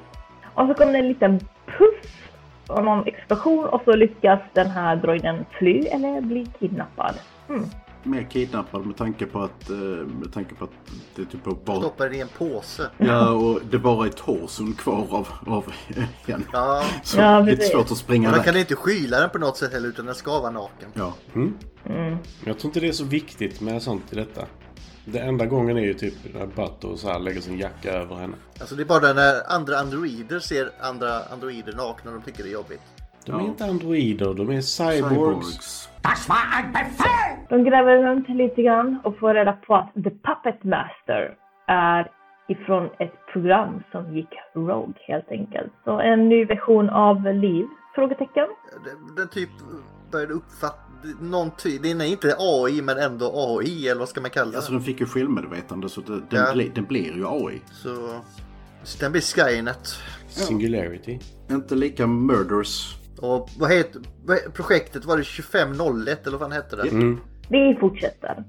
S3: Och så kom det en liten puff och någon explosion och så lyckas den här droiden fly eller bli kidnappad. Mm.
S5: Mer kidnappad med tanke på att, eh, med tanke på att det är typ bara...
S1: Stoppar den i en påse.
S5: Ja, och det bara är torson kvar av, av en.
S1: Ja.
S5: Så
S3: Ja,
S5: det är
S3: precis.
S5: svårt att springa
S1: Och man
S5: iväg.
S1: kan inte skyla den på något sätt heller utan den ska vara naken.
S5: Ja.
S4: Jag tror inte det är så viktigt med sånt i detta. Det enda gången är ju typ när Butto så här lägger sin jacka över henne.
S1: Alltså det är bara när andra androider ser andra androider nakna och de tycker det är jobbigt.
S4: De
S5: Ja.
S4: är inte androider, de är cyborgs.
S5: Cyborgs.
S3: De gräver runt lite grann och får reda på att The Puppet Master är ifrån ett program som gick Rogue helt enkelt. Så en ny version av Liv? Frågetecken.
S1: Den, den typ började uppfatta någon ty- den är inte AI men ändå AI eller vad ska man kalla det?
S5: Alltså den fick ju självmedvetande så det, den,
S1: Ja.
S5: bli, den blir ju AI.
S1: Så... så den blir Skynet.
S4: Singularity.
S5: Inte lika murders.
S1: Och vad heter vad- projektet? Var det 2501 eller vad fan hette det?
S4: Mm.
S3: Vi fortsätter.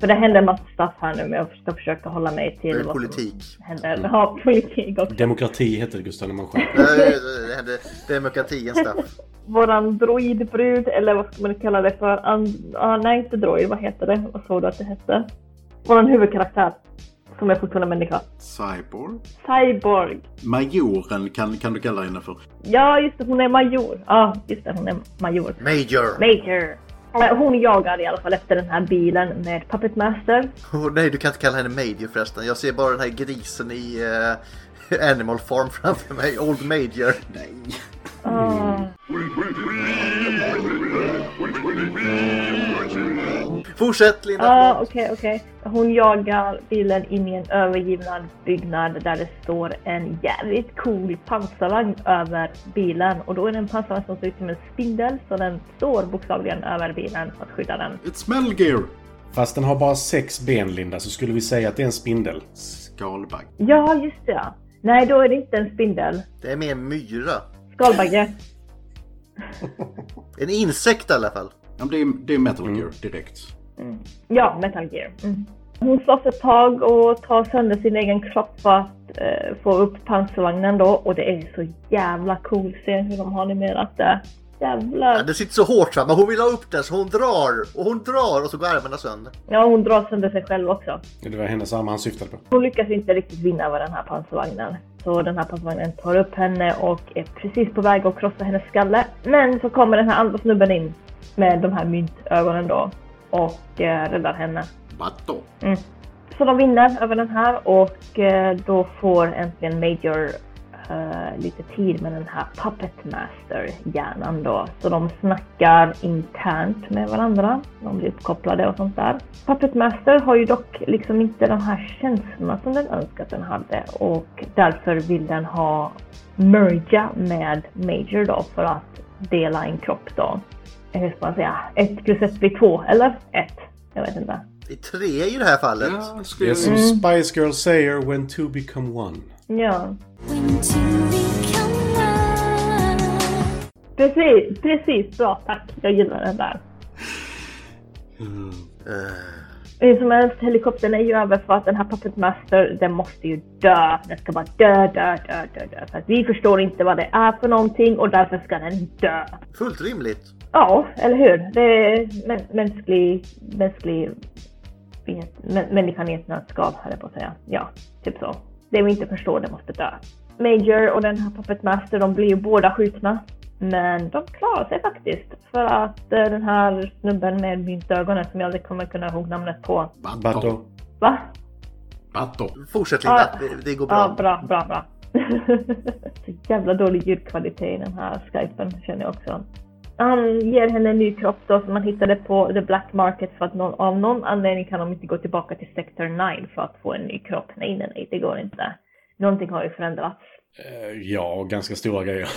S3: För det händer en massa stuff här nu men jag ska försöka hålla mig
S1: Det
S3: till
S1: är
S3: vad som
S1: Eh, politik.
S3: händer. Ja, politik också.
S4: Demokrati hette det Gustav när man själv.
S1: Nej, det- Eh, det- det hände demokratien straff.
S3: våran droidbrud, eller vad ska man kalla det för? An- ah, nej, inte droid, vad heter det? Vad sa du att det hette? Våran huvudkaraktär, som är fortfarande människa.
S5: Cyborg.
S3: Cyborg.
S5: Majoren kan, kan du kalla henne för.
S3: Ja, just det, hon är major. Ja, just det, hon är major.
S1: Major!
S3: Major. Eh, Hon jagar i alla fall efter den här bilen med Puppet Master.
S1: Åh, nej, du kan inte kalla henne Major förresten. Jag ser bara den här grisen i eh, Animal Farm framför mig. Old Major.
S5: Nej.
S3: Ah.
S1: Fortsätt Linda!
S3: Ja, Ah, okej, okej. Hon jagar bilen in i en övergiven byggnad där det står en jävligt cool pansarvagn över bilen. Och då är det en pansarvagn som ser ut som en spindel, så den står bokstavligen över bilen för att skydda den.
S5: It's Metal Gear.
S4: Fast den har bara sex ben, Linda, så skulle vi säga att det är en spindel.
S5: Skalbagg.
S3: Ja, just det. ja. Nej, då är det inte en spindel.
S1: Det är mer en myra.
S3: Skalbagge.
S1: En insekt i alla fall.
S5: Ja, men det, är, det är Metal Gear direkt.
S3: Ja, Metal Gear. Mm. Hon slåss ett tag och tar sönder sin egen kropp för att eh, få upp pansarvagnen då. Och det är så jävla cool scen hur de har animerat det. Jävlar.
S1: Ja, det sitter så hårt va, men hon vill ha upp den så hon drar och hon drar och så går armarna sönder.
S3: Ja, hon drar sönder sig själv också.
S4: Det var hennes armar han syftade på.
S3: Hon lyckas inte riktigt vinna över den här pansarvagnen. Så den här pansarvagnen tar upp henne och är precis på väg att krossa hennes skalle. Men så kommer den här andra snubben in med de här myntögonen då och eh, räddar henne.
S5: Batto.
S3: Mm. Så de vinner över den här och eh, då får äntligen Major eh, lite tid med den här Puppet Master hjärnan då. Så de snackar internt med varandra. De blir uppkopplade och sånt där. Puppet Master har ju dock liksom inte de här känslorna som den önskat den hade och därför vill den ha merga med Major då för att dela en kropp då. Eh, Hur ska man säga? Ett plus ett blir två, eller? Ett. Jag vet inte.
S1: Det är tre i det här fallet.
S5: Ja,
S4: Det
S5: skulle
S4: är
S5: jag
S4: som Spice Girl säger, when two become one.
S3: Ja,
S8: When two become one.
S3: precis, precis. Bra, tack. Jag gillar den där.
S1: Eh,
S3: Hur som helst, helikoptern är ju över för att den här Puppet Master, den måste ju dö. Den ska bara dö, dö, dö, dö, dö. För att vi förstår inte vad det är för någonting och därför ska den dö.
S1: fullt rimligt.
S3: Ja, eller hur? Det är mä- mänsklig, mänsklig vet- mä- människan i ett nötskal, höll jag på att säga. Ja, typ så. Det vi inte förstår, det måste dö. Major och den här Puppet Master, de blir ju båda skjutna. Men de klarar sig faktiskt. För att eh, den här snubben med myntögonen som jag aldrig kommer kunna ihåg namnet på.
S4: Bato.
S5: Batto.
S3: Va?
S5: Batto.
S1: Fortsätt
S3: Ja.
S1: Linda, det, det går bra.
S3: Ja, bra, bra, bra. Så jävla dålig ljudkvalitet i den här skypen känner jag också. Han ger henne en ny kropp då som man hittade på the black market för att någon, av någon anledning kan de inte gå tillbaka till sector 9 för att få en ny kropp. Nej, nej, nej, det går inte. Någonting har ju förändrats.
S4: Eh, Ja, ganska stora grejer.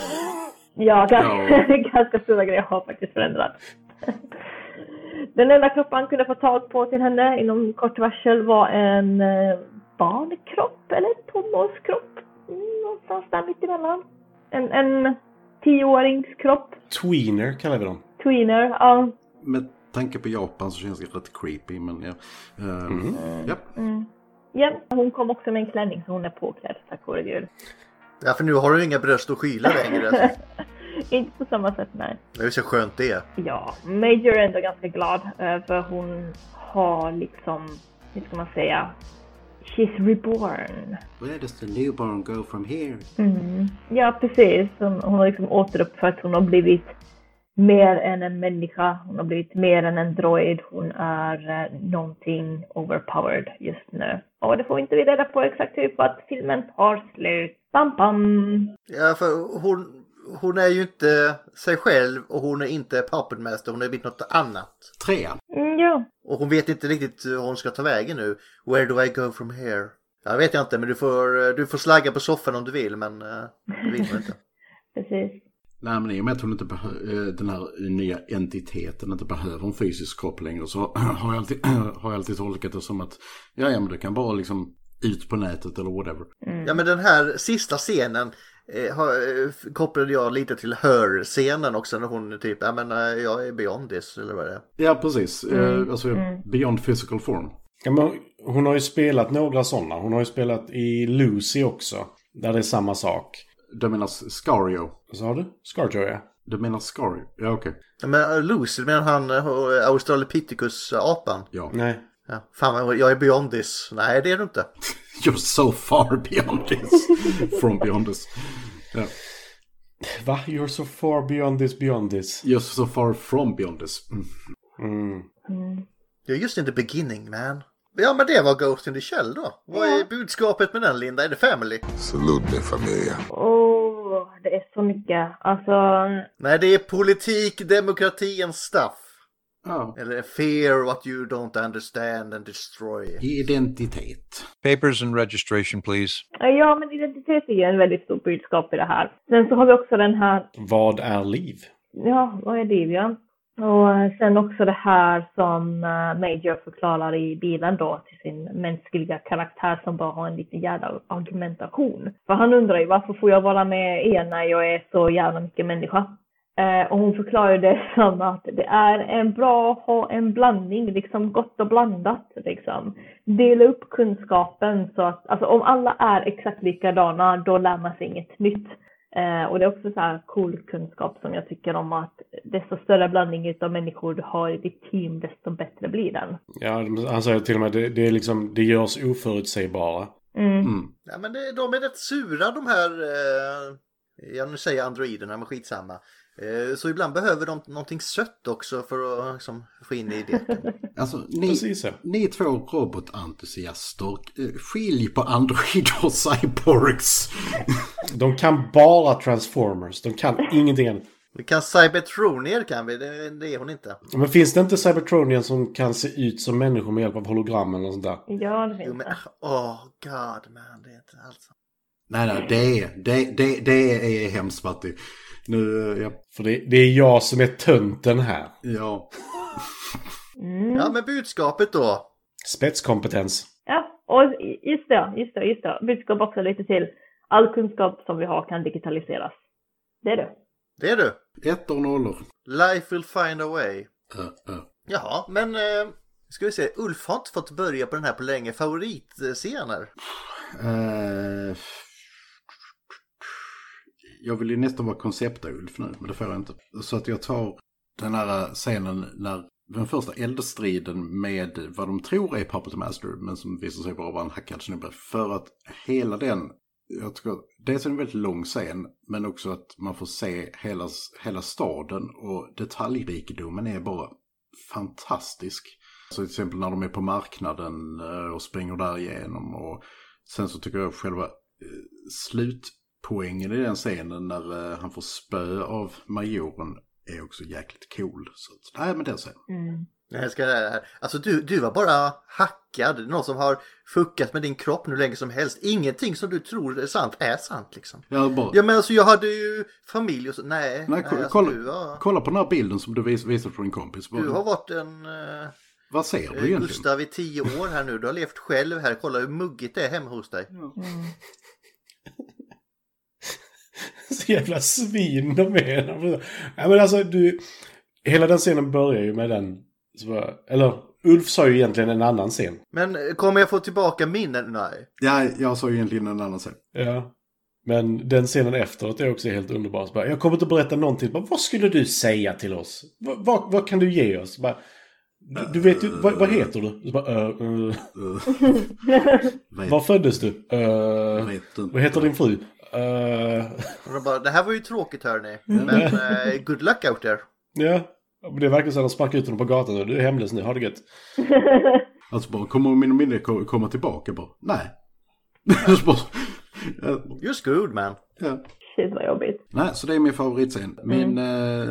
S3: Ja, ganska, ganska stora grejer har faktiskt förändrats. Den enda kropp han kunde få tag på till henne inom kort varsel var en eh, barnkropp eller tonårskropp. Mm, Någonstans där mittemellan. En, en tioåringskropp.
S4: Tweener kallar vi dem.
S3: Tweener. Ja.
S5: Med tanke på Japan så känns det rätt creepy, men ja. Ehm, ja.
S3: Mm. ja. Hon kom också med en klänning så hon är påklädd, tack vare gud.
S1: Ja, för nu har du inga bröst att skyla längre.
S3: Inte på samma sätt, nej.
S1: Det är ju så skönt det är.
S3: Ja, Major är ändå ganska glad eh, för hon har liksom, hur ska man säga, she's reborn.
S5: Where does the newborn go from here?
S3: Mm. Ja, precis. Hon, hon har liksom återuppfött, hon har blivit mer än en människa, hon har blivit mer än en droid, hon är eh, någonting overpowered just nu. Och det får vi inte reda på exakt hur, för att filmen tar slut. Bam, bam!
S1: Ja, för hon, hon är ju inte sig själv och hon är inte Puppet Master, hon har blivit något annat.
S5: Trean.
S3: Mm, ja.
S1: Och hon vet inte riktigt hur hon ska ta vägen nu. Where do I go from here? Jag vet jag inte, men du får, du får slagga på soffan om du vill, men eh, det vill man inte.
S3: Precis.
S5: Nej, men i och med att hon inte behö- eh, den här nya entiteten inte behöver en fysisk kropp längre så har jag alltid, har jag alltid tolkat det som att ja, ja, men du kan bara liksom ut på nätet eller whatever.
S1: Ja, men den här sista scenen eh, har, eh, kopplade jag lite till Her-scenen också när hon typ, ja men eh, jag är beyond this, eller vad det är.
S5: Ja, precis. Eh, alltså beyond physical form.
S4: Ja, men hon har ju spelat några sådana. Hon har ju spelat i Lucy också. Där det är samma sak.
S5: Du menar Scario?
S4: Vad sa du? Scarjo, ja.
S5: Du menar Scario? Ja, okej.
S1: Ja, men eh, Lucy, men han eh, Australopithecus-apan.
S5: Ja.
S4: Nej.
S1: Ja, fan, vad- jag är beyond this. Nej, det är du inte.
S5: You're so far beyond this. From beyond this. Ja.
S4: Va? You're so far beyond this, beyond this.
S5: You're so far from beyond this. Mm.
S4: Mm.
S1: You're just in the beginning, man. Ja, men det var Ghost in the Shell då. Vad är budskapet med den, Linda? Är det family?
S3: Åh, det är så mycket. Alltså,
S1: Nej, det är politik, demokrati and stuff.
S5: Ja.
S1: Eller fear what you don't understand and destroy.
S5: Identitet.
S11: Papers and registration, please.
S3: ja men identitet är ju en väldigt stor budskap i det här. Sen så har vi också den här
S4: Vad är liv?
S3: Ja, vad är det ja. Och eh, sen också det här som eh, Major förklarar i bilen då till sin mänskliga karaktär som bara har en liten jävla argumentation. För han undrar ju varför får jag vara med er när jag är så jävla mycket människa? Eh, och hon förklarar ju det som att det är en bra att ha en blandning, liksom gott och blandat. Liksom. Dela upp kunskapen så att, alltså om alla är exakt likadana, då lär man sig inget nytt. Eh, och det är också så här cool kunskap som jag tycker om att desto större blandning utav människor du har i ditt team, desto bättre blir den.
S4: Ja, han säger till och med det, det är liksom, det görs oförutsägbara.
S3: Mm.
S5: Mm.
S1: Ja, men det, de är rätt sura de här, eh, ja nu säger jag androiderna, men skitsamma. Eh, så ibland behöver de någonting sött också för att liksom, få in i det.
S5: Alltså, ni,
S4: Precis ja.
S5: ni är två robotentusiaster. Eh, Skilj på androider och cyborgs.
S4: De kan bara transformers. De kan ingenting annat.
S1: Vi kan cybertronier kan vi, det, det är hon inte.
S4: Men finns det inte Cybertronian som kan se ut som människor med hjälp av hologram eller sånt där?
S3: Ja, det
S1: Jo
S3: finns
S1: men,
S3: det.
S1: oh god man, det är inte alls...
S5: Nej, nej, det är, det, det, det är hemskt Matti. Nu, eh, ja.
S4: För det, det är jag som är tönten här.
S5: Ja.
S1: Ja, men budskapet då.
S4: Spetskompetens.
S3: Ja, och just det, just det, just det. Budskap också lite till. All kunskap som vi har kan digitaliseras. Det är det.
S1: Det är du.
S5: Ett och nollor.
S1: Life will find a way.
S5: Eh, eh.
S1: Jaha, men eh, ska vi se. Ulf har inte fått börja på den här på länge. Favoritscener?
S5: Eh, jag vill ju nästan vara koncept-Ulf nu, men det får jag inte. Så att jag tar den här eh, scenen när den första eldstriden med vad de tror är Puppet Master, men som visar sig bara vara en hackad snubbe. För att hela den, jag tycker att dels är det en väldigt lång scen, men också att man får se hela, hela staden och detaljrikedomen är bara fantastisk. Så till exempel när de är på marknaden eh, och springer där igenom. Och sen så tycker jag själva eh, slutpoängen i den scenen när eh, han får spö av majoren är också jäkligt cool. Så att, nej men den scenen.
S1: Jag älskar det här. Alltså du, du var bara hackad. Någon som har fuckat med din kropp hur länge som helst. Ingenting som du tror är sant är sant liksom.
S5: Jag bara,
S1: Ja men alltså jag hade ju familj och så. Nej,
S5: nej, ko-
S1: alltså,
S5: kolla,
S1: du, har,
S5: kolla på den här bilden som du vis, visade från din kompis. Bara,
S1: du har varit en eh,
S5: Vad ser du egentligen?
S1: Gustav i tio år här nu. Du har levt själv här. Kolla hur muggigt det är hemma hos dig.
S4: Så jävla svin de är. Ja, men alltså, du, hela den scenen börjar ju med den. Så bara, eller, Ulf sa ju egentligen en annan scen.
S1: Men eh, kommer jag få tillbaka minnen? Nej.
S5: Ja, jag sa ju egentligen en annan scen.
S4: Ja. Men den scenen efteråt är också helt underbar. Så bara, jag kommer inte att berätta någonting. Bara, vad skulle du säga till oss? Vad- vad, vad kan du ge oss? Bara, du, du vet ju, vad, vad heter du? Så bara, "Eh, eh,
S5: Eh, vet,
S4: var föddes du? Eh,
S5: vet inte.
S4: vad heter din fru? Eh,
S1: Och de bara, det här var ju tråkigt hörni.
S4: Mm.
S1: Men eh, good luck out there.
S4: ja. Men Det verkar som att de sparkar ut honom på gatan. och Du är hemlös nu, ha det gött.
S5: Alltså bara, kommer min minne ko- komma tillbaka bara? Nej. Alltså bara, ja,
S1: You're screwed man.
S5: ja.
S3: Shit vad jobbigt.
S5: Nej, så det är min favoritscen. Min eh,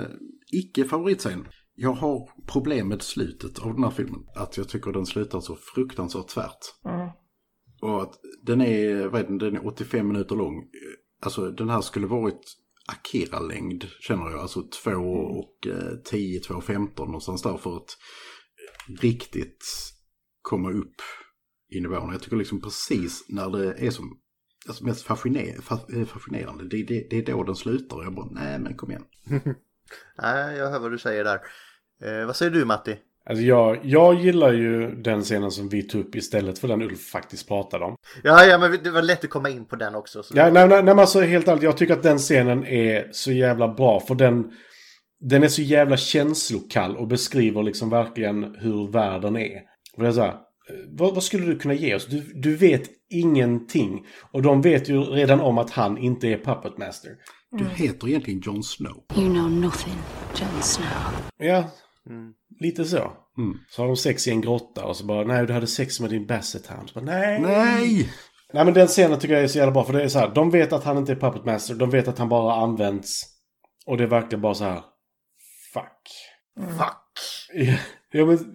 S5: icke-favoritscen. Jag har problem med slutet av den här filmen. Att jag tycker den slutar så fruktansvärt tvärt.
S3: Mm.
S5: Och att den är, vad är den, den är 85 minuter lång. Alltså den här skulle varit Akira-längd känner jag. Alltså 2 och eh, 10, 2 och 15 någonstans där för att riktigt komma upp i nivån. Jag tycker liksom precis när det är som alltså mest fasciner, fa- eh, fascinerande, det, det, det är då den slutar. Jag bara, nej men kom igen.
S1: Nej, jag hör vad du säger där. Eh, vad säger du Matti?
S4: Alltså jag, jag gillar ju den scenen som vi tog upp istället för den Ulf faktiskt pratade om.
S1: Ja, ja, men det var lätt att komma in på den också. Så.
S4: Ja, nej, nej, nej, men alltså helt ärligt, jag tycker att den scenen är så jävla bra. För den, den är så jävla känslokall och beskriver liksom verkligen hur världen är. Och det är så här, eh, vad, vad skulle du kunna ge oss? Du, du vet ingenting. Och de vet ju redan om att han inte är Puppet Master.
S5: Du heter egentligen Jon Snow.
S8: You know nothing, Jon Snow.
S4: Ja, lite så. Så har de sex i en grotta och så bara, nej du hade sex med din Basset Hound. Så bara, nej!
S5: Nej!
S4: Nej men den scenen tycker jag är så jävla bra för det är så här. De vet att han inte är Puppet Master. De vet att han bara används. Och det är verkligen bara så här. Fuck.
S1: Fuck!
S4: Ja, men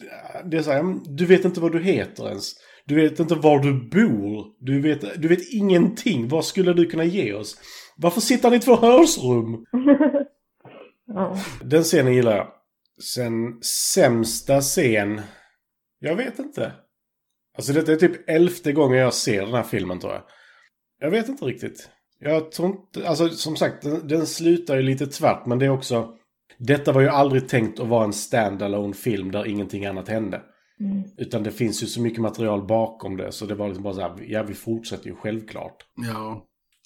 S4: det är så här, men du vet inte vad du heter ens. Du vet inte var du bor. Du vet, du vet ingenting. Vad skulle du kunna ge oss? Varför sitter han i ett förhörsrum?
S3: Ja.
S4: Den scenen gillar jag. Sen sämsta scen. Jag vet inte. Alltså detta är typ elfte gången jag ser den här filmen tror jag. Jag vet inte riktigt. Jag tror inte, alltså som sagt den, den slutar ju lite tvärt men det är också. Detta var ju aldrig tänkt att vara en standalone film där ingenting annat hände. Utan det finns ju så mycket material bakom det så det var liksom bara så här, ja vi fortsätter ju självklart.
S5: Ja,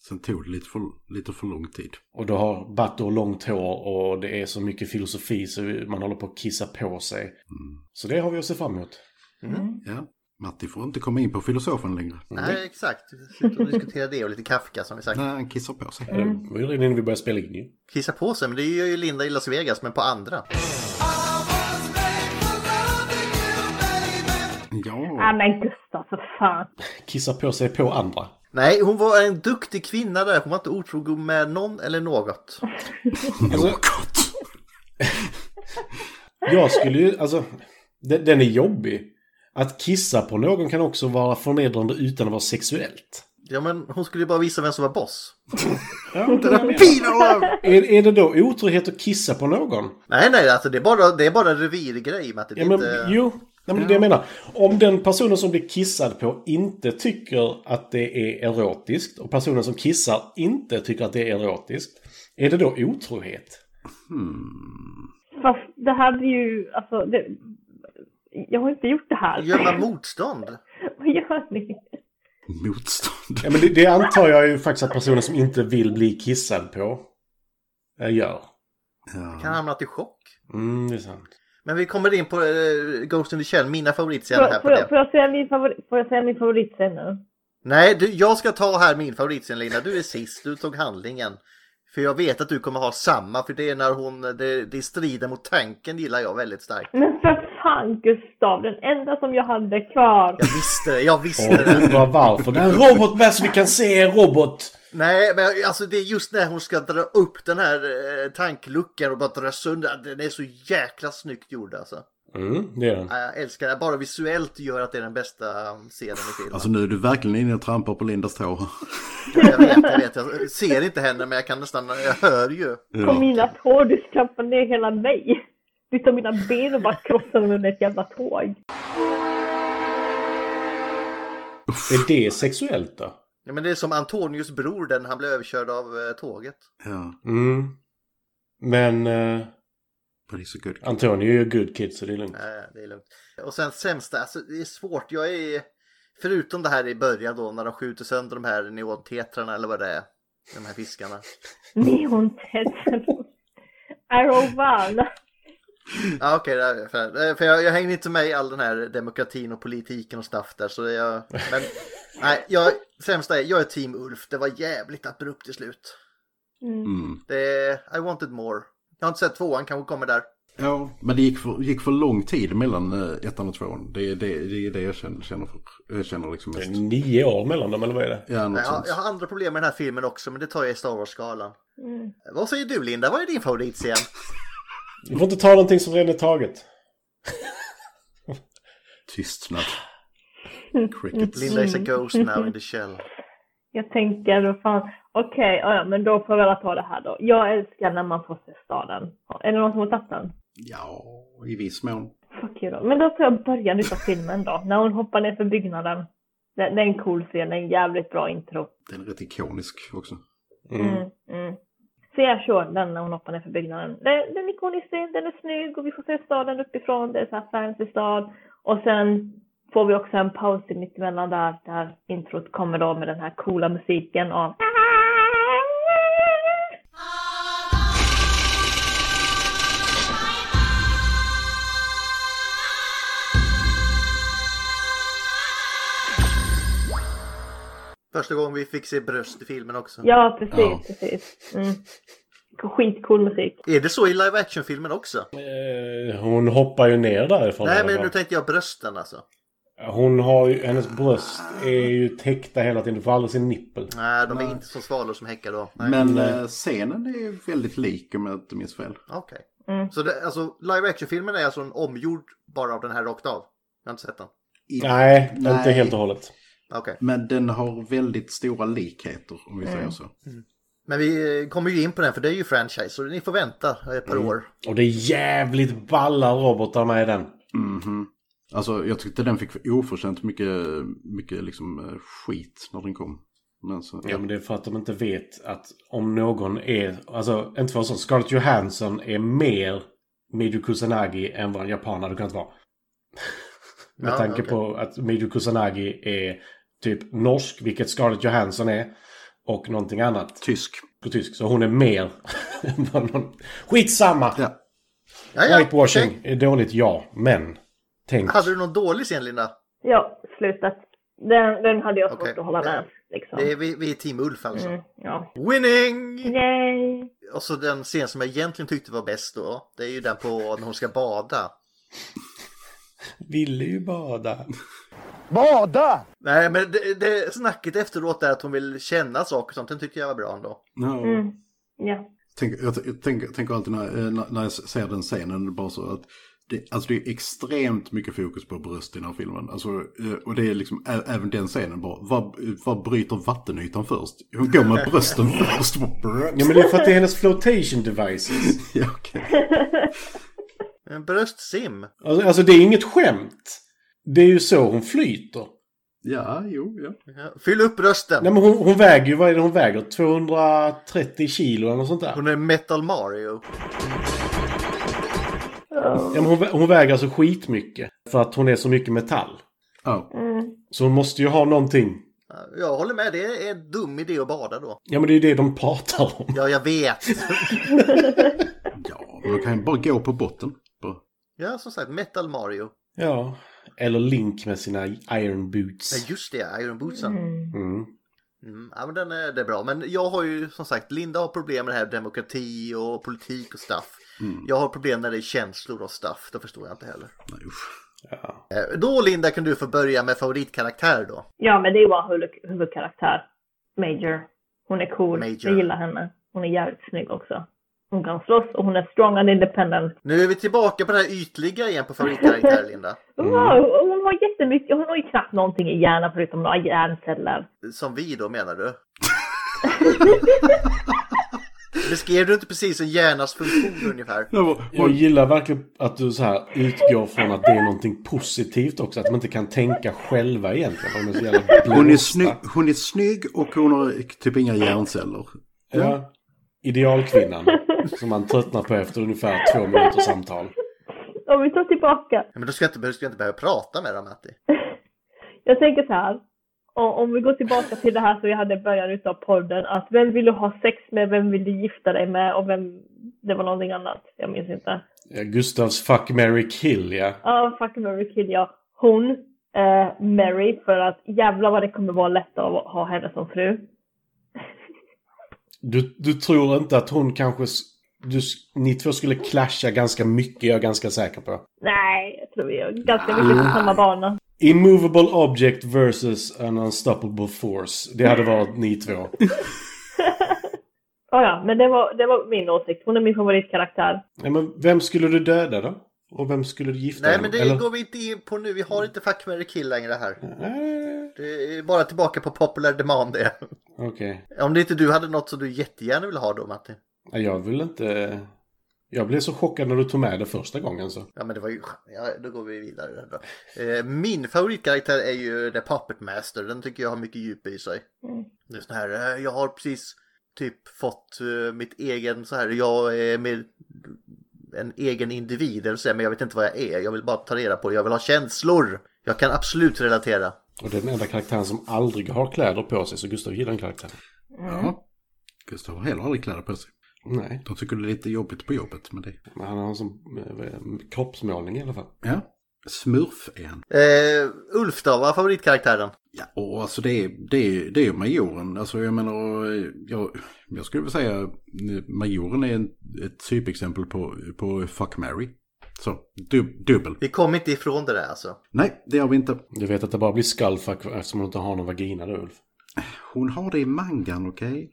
S5: sen tog det lite för, lite för lång tid.
S4: Och då har Bator långt hår och det är så mycket filosofi så man håller på att kissa på sig. Så det har vi att se fram emot.
S5: Ja, Matti får inte komma in på filosofen längre.
S4: Mm.
S1: Nej, exakt. Sitter och diskuterar det och lite Kafka som vi sagt.
S5: Nej, han kissar på sig.
S4: Det var ju redan innan vi började spela in ju.
S1: Kissa på sig, men det gör ju Linda i Las Vegas, men på andra.
S5: Ja,
S3: Nej men Gustav för fan.
S4: Kissa på sig på andra.
S1: Nej, hon var en duktig kvinna där. Hon var inte otrogen med någon eller något.
S4: Mm.
S5: något.
S4: Alltså, Jag skulle ju, alltså, den, den är jobbig. Att kissa på någon kan också vara förnedrande utan att vara sexuellt.
S1: Ja men hon skulle ju bara visa vem som var boss.
S4: Ja,
S1: Den
S4: det är
S1: där
S4: det.
S1: Pinot!
S4: är, är det då otrohet att kissa på någon?
S1: Nej nej alltså det är bara, det är bara en revirgrej med att det
S4: Ja, men,
S1: inte...
S4: Jo, nej, men det är det jag menar. Om den personen som blir kissad på inte tycker att det är erotiskt och personen som kissar inte tycker att det är erotiskt, är det då otrohet?
S5: Hmm.
S3: Fast det här blir ju, alltså, det, jag har inte gjort det här.
S1: Gömma motstånd.
S3: Vad gör ni?
S5: Motstånd.
S4: Ja, men det, det antar jag ju faktiskt att personen som inte vill bli kissad på eh, gör.
S1: Kan ha hamnat i chock.
S4: Mm, det är sant.
S1: Men vi kommer in på eh, Ghost in the Shell, mina favoritscener här
S3: Får,
S1: på
S3: får, jag,
S1: det.
S3: får, jag säga min favorit, får jag säga min favoritscen nu?
S1: Nej, du, jag ska ta här min favoritscen Lina. Du är sist, du tog handlingen. För jag vet att du kommer ha samma, för det är när hon, det, det strider mot tanken gillar jag väldigt starkt.
S3: Men för fan Gustav, den enda som jag hade kvar.
S1: Jag visste det, jag visste
S4: Och
S1: det.
S4: undrar varför. Det är en robot bäst vi kan se är en robot!
S1: Nej, men alltså det är just när hon ska dra upp den här eh, tankluckan och bara dra sönder. Den är så jäkla snyggt gjord alltså.
S4: Mm, det är den.
S1: Ja, Jag älskar det, bara visuellt gör att det är den bästa scenen i filmen.
S5: Alltså nu är du verkligen inne och trampar på Lindas tår.
S1: Jag vet, jag vet. Jag ser inte henne men jag kan nästan, jag hör ju.
S3: På mina tår, du skrapar ner hela mig. Du tar mina ben och bara krossar dem under ett jävla tåg.
S4: Är det sexuellt då?
S1: Ja, men det är som Antonius bror den, han blev överkörd av eh, tåget.
S5: Ja,
S4: Mm. Men eh,
S5: but he's a good guy.
S4: Antonio är ju good kid så det är lugnt.
S1: Nej, det är lugnt. Och sen sämsta, alltså det är svårt. Jag är, förutom det här i början då när de skjuter sönder de här neontetrarna eller vad det är. De här fiskarna.
S3: Neontetsen. Arrow One.
S1: Ja okej, okay, för, eh, för jag, jag hänger inte med i all den här demokratin och politiken och stuff där så det är jag, men nej, jag, sämsta är, jag är team Ulf. Det var jävligt abrupt i slut.
S5: Mm.
S1: Det är, I wanted more. Jag har inte sett tvåan, kanske kommer där.
S5: Ja, men det gick för, gick för lång tid mellan eh, ettan och tvåan. Det är det, det, är det jag känner, känner, för, jag känner liksom
S4: Det är
S5: mest.
S4: nio år mellan dem eller vad är det?
S5: Ja, något
S1: Nej, Jag,
S5: sånt.
S1: jag har andra problem med den här filmen också, men det tar jag i Star Wars-skalan.
S3: Mm.
S1: Vad säger du Linda, vad är din favoritscen?
S4: Du får inte ta någonting som redan är taget.
S5: Tystnad. Crickets.
S1: Linda is a
S3: Mm.
S1: ghost now in the shell.
S3: Jag tänker, vad fan, okej, ja, ja, men då får jag väl ta det här då. Jag älskar när man får se staden. Är det någon som har tagit den?
S5: Ja, i viss mån.
S3: Fuck you då. Men då tar jag början utav filmen då, när hon hoppar ner för byggnaden. Det, det är en cool scen, det är en jävligt bra intro.
S5: Den är rätt ikonisk också.
S4: Mm.
S3: Mm. Mm. Så jag kör den när hon hoppar ner för byggnaden. Den, den är ikonisk, scen, den är snygg och vi får se staden uppifrån, det är så här fancy stad. Och sen får vi också en paus i mittemellan där, där introt kommer då med den här coola musiken av
S1: Första gången vi fick se bröst i filmen också.
S3: Ja, precis,
S5: Ja.
S3: precis. Mm. Skitcool musik.
S1: Är det så i live action-filmen också?
S4: Eh, Hon hoppar ju ner därifrån.
S1: Nej,
S4: eller
S1: men
S4: vad?
S1: nu tänkte jag brösten alltså.
S4: Hon har ju, hennes bröst är ju täckta hela tiden. Du får aldrig se nippel.
S1: Nej, de är inte som svalor som häckar då. Nej.
S5: Men eh, scenen är ju väldigt lik om jag inte minns fel.
S1: Okej.
S3: Mm.
S1: Så det, alltså, live action-filmen är alltså en omgjord bara av den här rakt av? Jag har inte sett den.
S5: I-
S4: Nej, inte
S5: Nej.
S4: helt och hållet.
S1: Okej.
S5: Men den har väldigt stora likheter om vi säger så.
S1: Men vi eh, kommer ju in på den för det är ju franchise så ni får vänta ett par år.
S4: Och det är jävligt balla robotar med i den.
S5: Mhm. Alltså jag tyckte den fick oförtjänt mycket, mycket liksom, eh, skit när den kom. Men så,
S4: Ja, men det är för att de inte vet att om någon är... Alltså, inte för sånt. Scarlett Johansson är mer Mijo Kusanagi än vad en japan hade kunnat vara. Med
S1: Ja,
S4: tanke
S1: okej.
S4: på att Mijo Kusanagi är typ norsk, vilket Scarlett Johansson är. Och någonting annat
S5: Tysk.
S4: på tysk. Så hon är mer än vad någon... Skitsamma!
S5: Ja.
S1: Ja, ja,
S4: Whitewashing
S1: okej. Alltså-
S4: är dåligt, ja. Men tänk...
S1: Hade du någon dålig scen Linda?
S3: Ja, slutet. Den, den hade jag svårt
S1: Okej.
S3: att hålla med. Liksom.
S1: Det är, vi, vi är team Ulf alltså.
S3: Mm, ja.
S1: Winning!
S3: Yay!
S1: Och så den scen som jag egentligen tyckte var bäst då. Det är ju den på när hon ska bada.
S4: Ville ju bada.
S1: Nej, men det, det snacket efteråt där att hon vill känna saker och sånt, den tyckte jag var bra ändå.
S5: Ja.
S3: Mm. Ja.
S5: Tänk, jag, t- jag tänker- tänker alltid när, eh, när- när jag ser den scenen bara så att det, alltså det är extremt mycket fokus på bröst i den här filmen. Alltså, eh, och det är liksom ä- även den scenen bara. Vad, vad bryter vattenytan först? Hon går med brösten först.
S4: Ja, men det är för att det är hennes flotation devices.
S5: ja, okej.
S1: En bröstsim.
S4: Alltså, alltså det är inget skämt. Det är ju så hon flyter.
S5: ja, jo, ja.
S1: Ja, Fyll upp rösten.
S4: Nej men hon, hon väger ju, vad är det hon väger? 230 kilo eller något sånt där.
S1: Hon är Metal Mario.
S4: Ja, men hon, vä- hon väger alltså skitmycket. För att hon är så mycket metall.
S5: Ja.
S4: Så hon måste ju ha någonting.
S1: Ja, Jag håller med, det är en dum idé att bada då.
S4: Ja men det är ju det de pratar om.
S1: Ja, jag vet.
S5: ja, men då kan jag bara gå på botten. Bara.
S1: Ja, som sagt, Metal Mario.
S4: Ja. Eller Link med sina iron
S1: Ja,
S4: boots.
S1: just det, Iron Bootsen.
S3: Mm.
S4: Mm.
S1: Mm, ja, men den är, det är bra. Men jag har ju som sagt, Linda har problem med det här demokrati och politik och stuff.
S4: Mm.
S1: Jag har problem när det är känslor och stuff. Det förstår jag inte heller.
S5: Nej, usch.
S1: Eh, Då Linda kan du få börja med favoritkaraktär då.
S3: Ja, men det är ju vår huvud- huvudkaraktär. Major. Hon är cool.
S1: Major.
S3: Jag gillar henne. Hon är jävligt snygg också. Hon kan slåss och hon är strong and independent.
S1: Nu är vi tillbaka på det här ytliga igen på favoritkaraktär Linda.
S3: Wow, och hon har jättemycket. Hon har ju knappt någonting i hjärnan förutom några hjärnceller.
S1: Som vi då menar du. Beskrev du inte precis en hjärnas funktion ungefär?
S5: Det var,
S4: Jag gillar verkligen att du så här utgår från att det är någonting positivt också. Att de inte kan tänka själva egentligen. för De är så jävla
S5: hon, är
S4: blåsta.
S5: snygg, hon är snygg och hon har typ inga hjärnceller.
S4: Ja. Idealkvinnan. Som man tröttnar på efter ungefär två minuters samtal.
S3: Om vi tar tillbaka.
S1: Ja, Men du ska, inte, du ska inte behöva prata med dem Matti.
S3: Jag tänker så här. Och om vi går tillbaka till det här som jag hade i början utav podden. Att vem vill du ha sex med? Vem vill du gifta dig med? Och vem... Det var någonting annat. Jag minns inte.
S4: Ja, Gustavs fuck, Mary kill ja.
S3: Ja, fuck Mary kill ja. Hon, eh, Mary, för att jävlar vad det kommer vara lätt att ha henne som fru.
S4: Du, du tror inte att hon kanske... s- Du, s- ni två skulle clasha ganska mycket, jag är ganska säker på.
S3: Nej, jag tror vi är ganska mycket på samma bana.
S4: Immovable object versus an unstoppable force. Det hade varit ni två.
S3: Ja, ja, men det var, det var min åsikt. Hon är min favoritkaraktär.
S4: Ja, men vem skulle du döda då? Och vem skulle du gifta dig
S1: Nej
S4: med?
S1: men det
S4: Eller-
S1: går vi inte in på nu. Vi har inte Fuck, marry, kill längre här.
S4: Nej,
S1: Det är bara tillbaka på popular demand det.
S4: Okej.
S1: Om det inte du hade något som du jättegärna vill ha då Matti.
S4: Nej, Jag vill inte... Jag blev så chockad när du tog med det första gången så.
S1: Ja men det var ju ja, då går vi vidare. Då. Eh, min favoritkaraktär är ju The Puppet Master. Den tycker jag har mycket djup i sig. Det är sån här, eh, jag har precis typ fått eh, mitt egen så här, jag är med en egen individ eller så, men jag vet inte vad jag är. Jag vill bara ta reda på det. Jag vill ha känslor. Jag kan absolut relatera.
S4: Och det är den enda karaktären som aldrig har kläder på sig, så Gustav gillar den karaktären.
S5: Ja. Gustav har heller aldrig kläder på sig.
S4: Nej,
S5: De tycker det är lite jobbigt på jobbet med det.
S4: men han har en sån eh, vad är det, kroppsmålning i alla fall.
S5: Ja. Smurf är han.
S1: Eh, Ulf då, vad är favoritkaraktären?
S5: Ja, och alltså det är, det är, det är majoren. Alltså jag menar, och jag, jag skulle vilja säga eh, majoren är en, ett typexempel på, på fuck Mary. Så, dub, dubbel.
S1: Vi kom inte ifrån det där alltså.
S5: Nej, det gör vi inte.
S4: Du vet att det bara blir skullfuck eftersom hon inte har någon vagina då, Ulf.
S5: Hon har det i mangan, okej?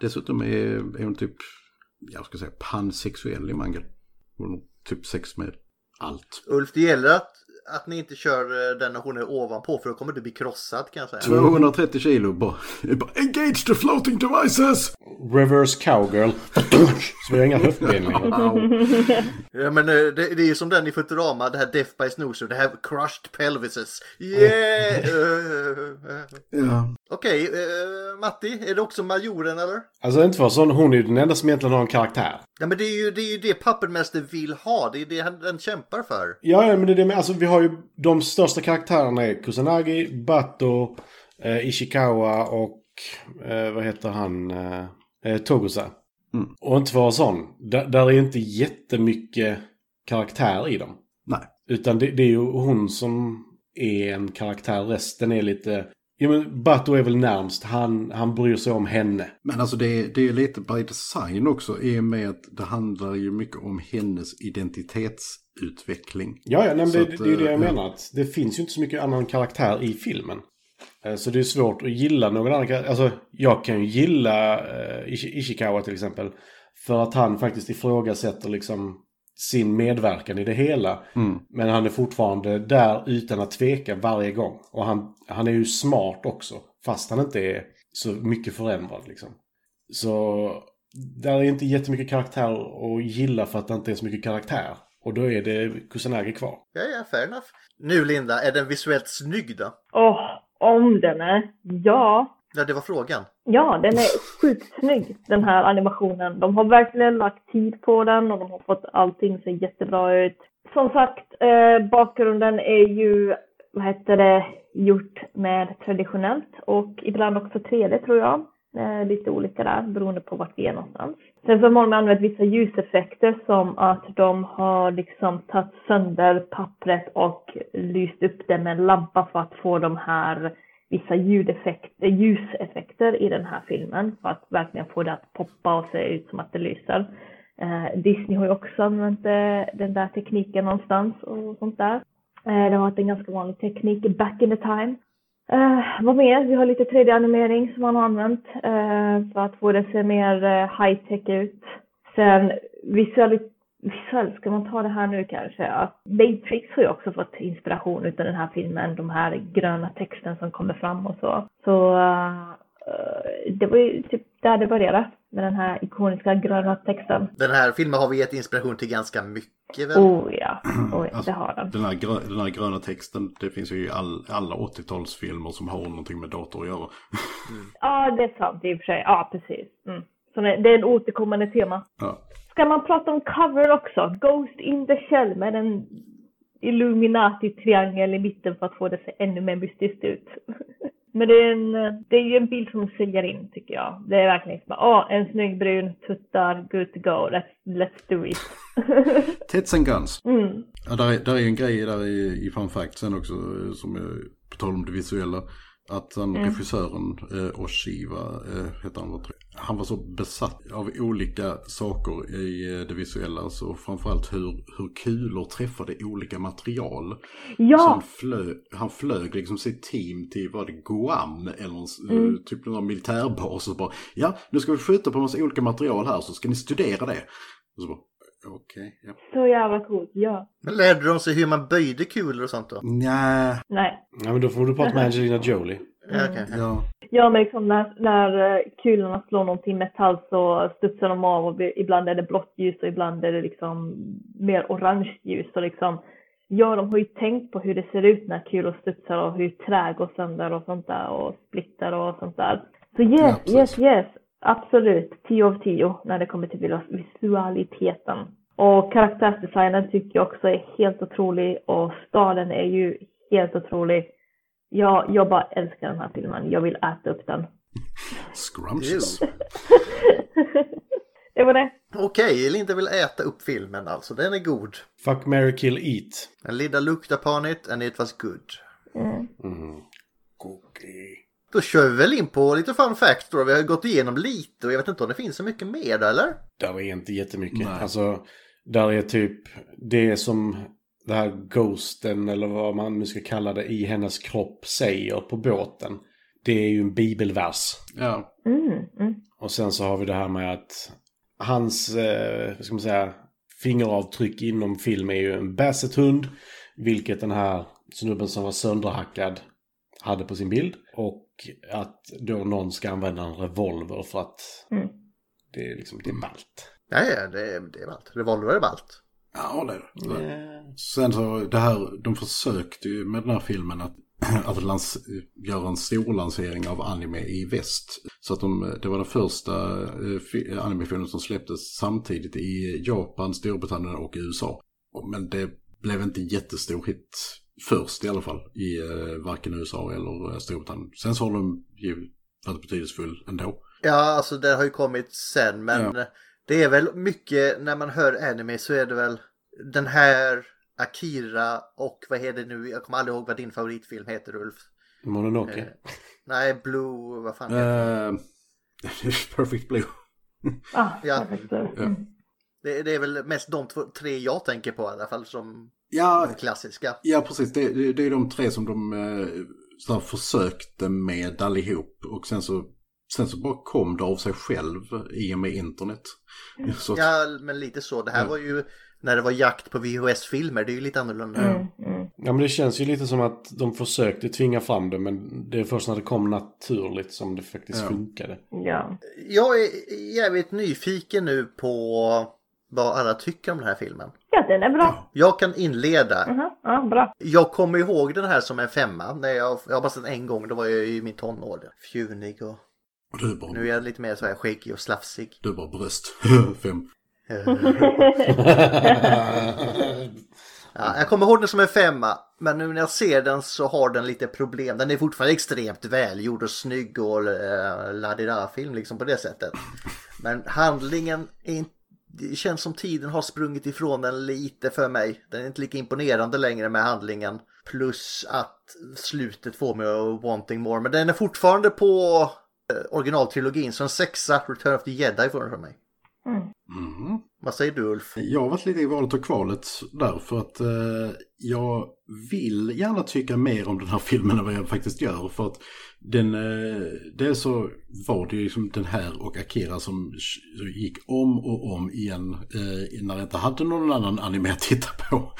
S5: Dessutom är, är hon typ, jag ska säga pansexuell i mangan. Hon har typ sex med allt.
S1: Ulf, det gäller att, att ni inte kör eh, den när hon är ovanpå för då kommer du bli krossad kan jag säga.
S5: Mm. 230 kilo bara, bara engage the floating devices!
S4: Reverse cowgirl. så vi har inga höftben längre.
S5: Au.
S1: Ja men eh, det, det är ju som den i Futurama, det här Death by Snoozer, det här crushed pelvises. Yeah! Eh, eh.
S5: Ja.
S1: Okej, eh, Matti, är det också majoren eller?
S4: Alltså inte för sån, hon är ju den enda som egentligen har en karaktär.
S1: Ja men det är ju det, är ju det Puppetmaster vill ha, det är det han, den kämpar för.
S4: Ja, ja, men det är det med. Alltså vi har ju de största karaktärerna är Kusanagi, Bato, eh, Ishikawa och eh, vad heter han? Eh, eh, Togusa.
S5: Mm.
S4: Och inte vara sån. Där, där är ju inte jättemycket karaktär i dem.
S5: Nej.
S4: Utan det, det är ju hon som är en karaktär. Resten är lite... Ja, men Bato är väl närmst. Han, han bryr sig om henne.
S5: Men alltså det, är- det är lite by design också i och med att det handlar ju mycket om hennes identitetsutveckling.
S4: Ja, ja, nej, men
S5: Så
S4: det,
S5: att,
S4: det är ju det jag
S5: eh,
S4: menar. Att det finns ju inte så mycket annan karaktär i filmen. Eh, Så det är svårt att gilla någon annan karaktär. Alltså, jag kan ju gilla eh, Ishi- Ishikawa till exempel. För att han faktiskt ifrågasätter liksom sin medverkan i det hela.
S5: Mm.
S4: Men han är fortfarande där utan att tveka varje gång. Och han, han är ju smart också. Fast han inte är så mycket förändrad liksom. Så där är inte jättemycket karaktär att gilla för att det inte är så mycket karaktär. Och då är det Kusanagi kvar.
S1: Ja, ja, fair enough. Nu Linda, är den visuellt snygg då?
S3: Åh, om den är. Ja.
S1: Ja, det var frågan.
S3: Ja, den är skitsnygg den här animationen. De har verkligen lagt tid på den och de har fått allting se jättebra ut. Som sagt, eh, bakgrunden är ju, vad heter det, gjort med traditionellt och ibland också 3D tror jag. Eh, lite olika där beroende på vart vi är någonstans. Sen så har man använt vissa ljuseffekter som att de har liksom tagit sönder pappret och lyst upp det med en lampa för att få de här vissa ljudeffekter, ljuseffekter i den här filmen för att verkligen få det att poppa och se ut som att det lyser. Eh, Disney har ju också använt eh, den där tekniken någonstans och sånt där. Eh, det har varit en ganska vanlig teknik back in the time. Eh, vad mer? Vi har lite 3D-animering som man har använt eh, för att få det att se mer eh, high-tech ut. Sen visualit- visuellt, ska man ta det här nu kanske, att Matrix har ju också fått inspiration utav den här filmen, de här gröna texten som kommer fram och så. Så eh, eh, det var ju typ där det började, med den här ikoniska gröna texten.
S1: Den här filmen har vi gett inspiration till ganska mycket väl?
S3: Oh ja, oh, ja det har den.
S5: Den här, grö- den här gröna texten, det finns ju i all, alla 80-talsfilmer som har någonting med dator att göra.
S3: Ja, det är sant i och för sig. Ja, precis. Mm. Så det det är en återkommande tema.
S5: Ja.
S3: Ska man prata om cover också? Ghost in the Shell med en Illuminati-triangel i mitten för att få det att se ännu mer mystiskt ut. Men det är, en, det är ju en bild som säljer in tycker jag. Det är verkligen som åh, en snygg brun, tuttar, good to go, let's, let's do it.
S5: Tits and Guns.
S3: Mm.
S5: Ja, där, är, där är en grej där i, i Fun Fact sen också, eh, som är, på tal om det visuella. Att han,
S3: Mm.
S5: regissören, eh, Oshiva, eh, heter han, vad tror jag. han var så besatt av olika saker i eh, det visuella. Så framförallt hur, hur kulor träffade olika material. Så
S3: Ja,
S5: han, flög, han flög liksom sitt team till vad det, Guam eller någon, s-
S3: Mm.
S5: eh, typ någon militärbas och bara Ja, nu ska vi skjuta på en massa olika material här så ska ni studera det. Och så bara, okej, ja.
S3: så jävla coolt. Ja.
S1: Men lärde de sig hur man böjde kulor och sånt då?
S5: Nja,
S3: Nej.
S4: Ja, men då får du prata med Angelina Jolie.
S1: Ja, okej.
S5: ja.
S3: Ja, men liksom när, när eh, kulorna slår någonting metall så studsar de av och vi- ibland är det blått ljus och ibland är det liksom mer orange ljus. Och liksom, ja, de har ju tänkt på hur det ser ut när kulor studsar och hur trä går sönder och sånt där och splittar och sånt där. Så yes,
S5: Ja, precis.
S3: yes, yes, absolut. 10 av 10 när det kommer till visualiteten. Och karaktärsdesignen tycker jag också är helt otrolig och staden är ju helt otrolig. Ja, jag bara älskar den här filmen. Jag vill äta upp den.
S5: Scrumptious.
S3: det var det.
S1: Okej, Linda vill äta upp filmen alltså. Den är god.
S4: Fuck, Mary kill, eat.
S1: And Linda looked upon it and it was good.
S3: Mm.
S4: Mm. Cookie.
S1: Då kör vi väl in på lite fun facts då. Vi har gått igenom lite och jag vet inte om det finns så mycket mer där, eller?
S4: Där är inte jättemycket.
S5: Nej.
S4: Alltså, där är typ det som det här ghosten eller vad man nu ska kalla det i hennes kropp säger på båten. Det är ju en bibelvers.
S5: Ja,
S3: Mm, mm.
S4: Och sen så har vi det här med att hans, eh, vad ska man säga, fingeravtryck inom film är ju en bassethund. Vilket den här snubben som var sönderhackad hade på sin bild. Och att då någon ska använda en revolver för att
S3: Mm.
S4: det är liksom, det är ballt.
S1: Ja, ja, det, det är ballt. Revolver är ballt.
S5: ja det är det. det. Sen så det här, de försökte ju med den här filmen att, att lans, göra en stor lansering av anime i väst. Så att de, det var den första eh, fi- animefilmen som släpptes samtidigt i Japan, Storbritannien och USA. Men det blev inte jättestor hit först i alla fall i eh, varken USA eller eh, Storbritannien. Sen så har de ju varit betydelsefull ändå.
S1: Ja, alltså det har ju kommit sen, men det är väl mycket när man hör anime så är det väl den här, Akira och vad heter det nu? Jag kommer aldrig ihåg vad din favoritfilm heter, Ulf.
S4: Mononoke.
S1: Eh, Nej, Blue, vad fan heter den?
S5: Eh, Perfect Blue.
S3: Ah,
S1: Ja.
S3: perfekt. Mm.
S1: det? Det är väl mest de två, tre jag tänker på i alla fall som
S5: Ja,
S1: klassiska.
S5: Ja, precis. Det, det, det är de tre som de eh, så här, försökte med allihop och sen så, sen så bara kom det av sig själv i och med internet. Så att-
S1: Mm. Ja, men lite så. Det här var ju när det var jakt på VHS-filmer. Det är ju lite annorlunda.
S3: Mm,
S4: Ja, men det känns ju lite som att de försökte tvinga fram det, men det är först när det kom naturligt som det faktiskt
S5: Ja.
S4: funkade.
S3: Ja.
S1: Jag är jävligt nyfiken nu på vad alla tycker om den här filmen.
S3: ja, den är bra.
S1: Jag kan inleda.
S3: Jaha, ja, bra.
S1: Jag kommer ihåg den här som en femma. När jag, jag har bara sett den en gång, då var jag i min tonår. Fjunig och...
S5: Och du bara,
S1: Nu är jag lite mer så här skäggig och slafsig.
S5: du bara bröst. Fem.
S1: Ja, jag kommer ihåg den som en femma, men nu när jag ser den så har den lite problem. Den är fortfarande extremt välgjord och snygg och eh, ladida-film liksom på det sättet. Men handlingen är inte, det känns som tiden har sprungit ifrån den lite för mig. Den är inte lika imponerande längre med handlingen. Plus att slutet får mig att wanting more. Men den är fortfarande på eh, originaltrilogin, så en sexa, Return of the Jedi får den från mig.
S5: Mm.
S1: Vad säger du Ulf?
S5: Jag har varit lite i valet och kvalet där för att eh, jag vill gärna tycka mer om den här filmen än vad jag faktiskt gör. För att den, eh, dels så var det ju liksom den här och Akira som, som gick om och om igen eh, när jag inte hade någon annan anime att titta på.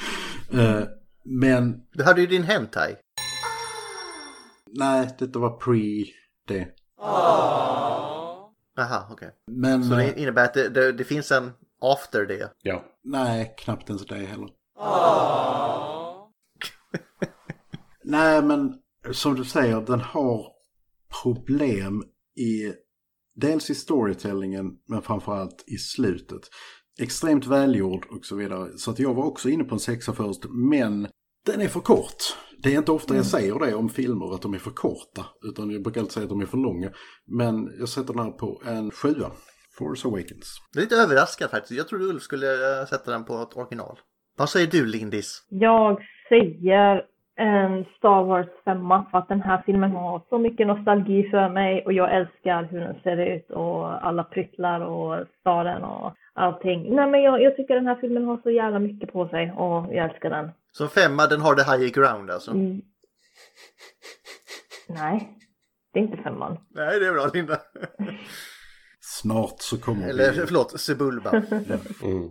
S5: Eh, men
S1: Du hade ju din hentai.
S5: nej, detta var pre det.
S1: Aha, okej.
S5: Men
S1: Så
S5: eh,
S1: det innebär att det, det, det finns en after det.
S4: ja.
S5: nej, knappt ens det heller. Nej, men som du säger, den har problem i dels i storytellingen, men framförallt i slutet. Extremt välgjord och så vidare. Så att jag var också inne på en sexa först, men den är för kort. Det är inte ofta jag säger det om filmer, att de är för korta. Utan jag brukar alltid säga att de är för långa. Men jag sätter den här på en sjua. Force Awakens.
S1: Jag är lite överraskad faktiskt. Jag trodde Ulf skulle eh, sätta den på ett original. Vad säger du Lindis?
S3: Jag säger en Star Wars femma för att den här filmen har så mycket nostalgi för mig och jag älskar hur den ser ut och alla pryttlar och staden och allting. Nej men jag, jag tycker den här filmen har så jävla mycket på sig och jag älskar den.
S1: Som femma, den har det higher ground alltså.
S3: Mm. Nej, det är inte femman.
S1: Nej, det är bra Linda.
S5: Snart så kommer
S1: Eller
S5: vi...
S1: förlåt, Sebulba.
S4: Mm.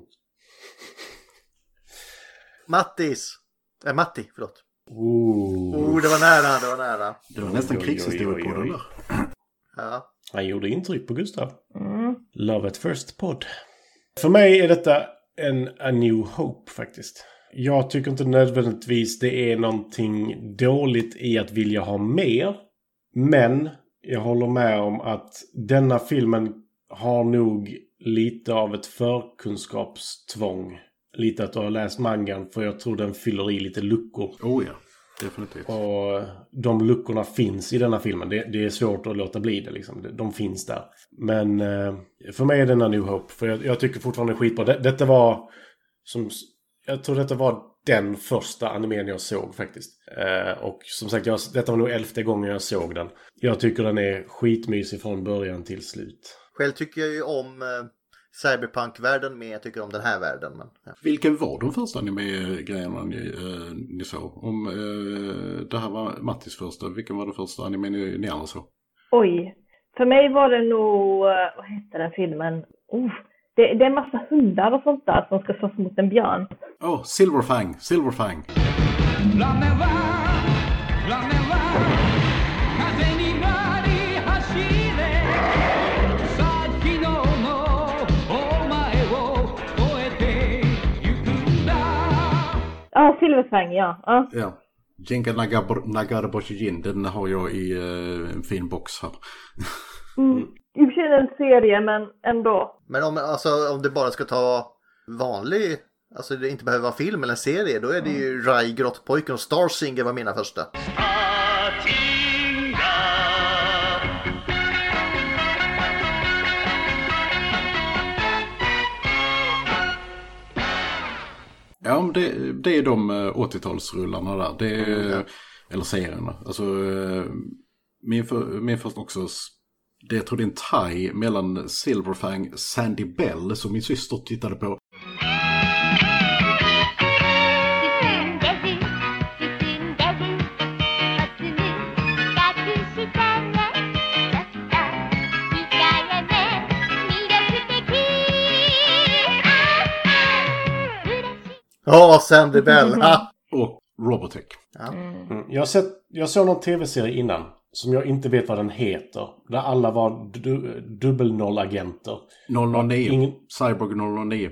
S1: Mattis! Äh, Matti, förlåt.
S4: Ooh.
S1: Oh, det var nära, det var nära.
S5: Det var nästan
S4: Oj, oj,
S5: krigshistoria
S4: oj,
S5: på den
S4: oj.
S5: där.
S1: Ja.
S4: Han gjorde intryck på Gustav.
S3: Mm.
S4: Love at first podd. För mig är detta en A New Hope faktiskt. Jag tycker inte nödvändigtvis det är någonting dåligt i att vilja ha mer. Men jag håller med om att denna filmen har nog lite av ett förkunskapstvång. Lite att du har läst mangan för jag tror den fyller i lite luckor.
S5: Oh ja, definitivt.
S4: Och de luckorna finns i denna filmen. Det, det är svårt att låta bli det liksom. De- De finns där. Men eh, för mig är denna New Hope. För jag, jag tycker fortfarande det är skitbra. Det, detta var... Som, s- jag tror detta var den första animen jag såg faktiskt. Eh, och som sagt, jag, detta var nog elfte gången jag såg den. Jag tycker den är skitmysig från början till slut.
S1: Själv tycker jag ju om eh, cyberpunk-världen mer än jag tycker om den här världen. Men, ja.
S5: Vilken var de första anime-grejerna ni, eh, ni såg? Om eh, det här var Mattis första, vilken var den första anime ni, ni andra såg?
S3: Oj. För mig var det nog, eh, vad hette den filmen? Oh, det, det är en massa hundar och sånt där som ska slåss mot en björn.
S5: Åh, oh, Silverfang! Silverfang!
S3: Ja, ah, Silverfang, ja. Ah.
S5: Ja. Jenga Nagar- Nagarbashijin, den har jag i eh, en fin box här.
S3: Mm. I och för sig är det en serie, men ändå.
S1: men om, alltså, om det bara ska ta vanlig, alltså det inte behöver vara film eller serie, då är det ju Rai, Grottpojken och Star Singer var mina första.
S7: Ah!
S5: Ja, men det, det är de eh, 80-talsrullarna där. Det är, Eller serierna. Alltså, eh, min, för, min första också, s- det jag tror det är en thai mellan Silverfang Sandy Bell som min syster tittade på.
S9: Sitting, busy, sitting, busy, sitting,
S1: Ja, Sandy Ah, Bella!
S5: Och Robotech.
S1: Ja.
S4: Mm. Jag, har sett, jag såg någon tv-serie innan som jag inte vet vad den heter. Där alla var du, dubbelnollagenter.
S5: 009.
S4: Ingen-
S5: Cyborg 009.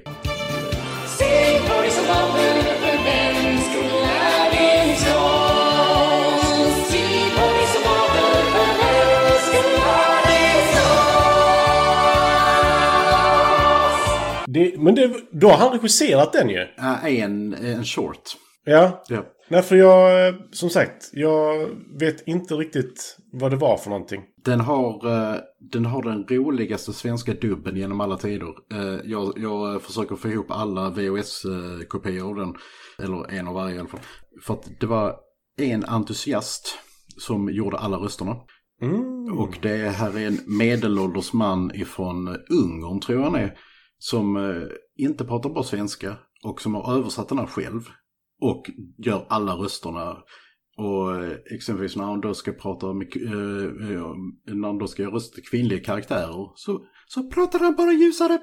S4: Det, men det, då har han regisserat den ju.
S5: Äh, en, en short.
S4: Ja.
S5: Ja.
S4: Nej, för jag, eh, som sagt, jag vet inte riktigt vad det var för någonting.
S5: Den har, eh, den har den roligaste svenska dubben genom alla tider. Eh, Jag, jag eh, försöker få ihop alla VHS-kopior av den. Eller en av varje i alla fall. För att det var en entusiast som gjorde alla rösterna.
S4: Mm.
S5: Och det här är en medelålders man ifrån eh, Ungern tror jag han är. Som eh, inte pratar bra svenska och som har översatt den här själv. Och gör alla rösterna. Och eh, exempelvis när han då ska prata med, k- eh, eh, när han då ska göra röst till kvinnliga karaktärer så, så pratar han bara ljusare.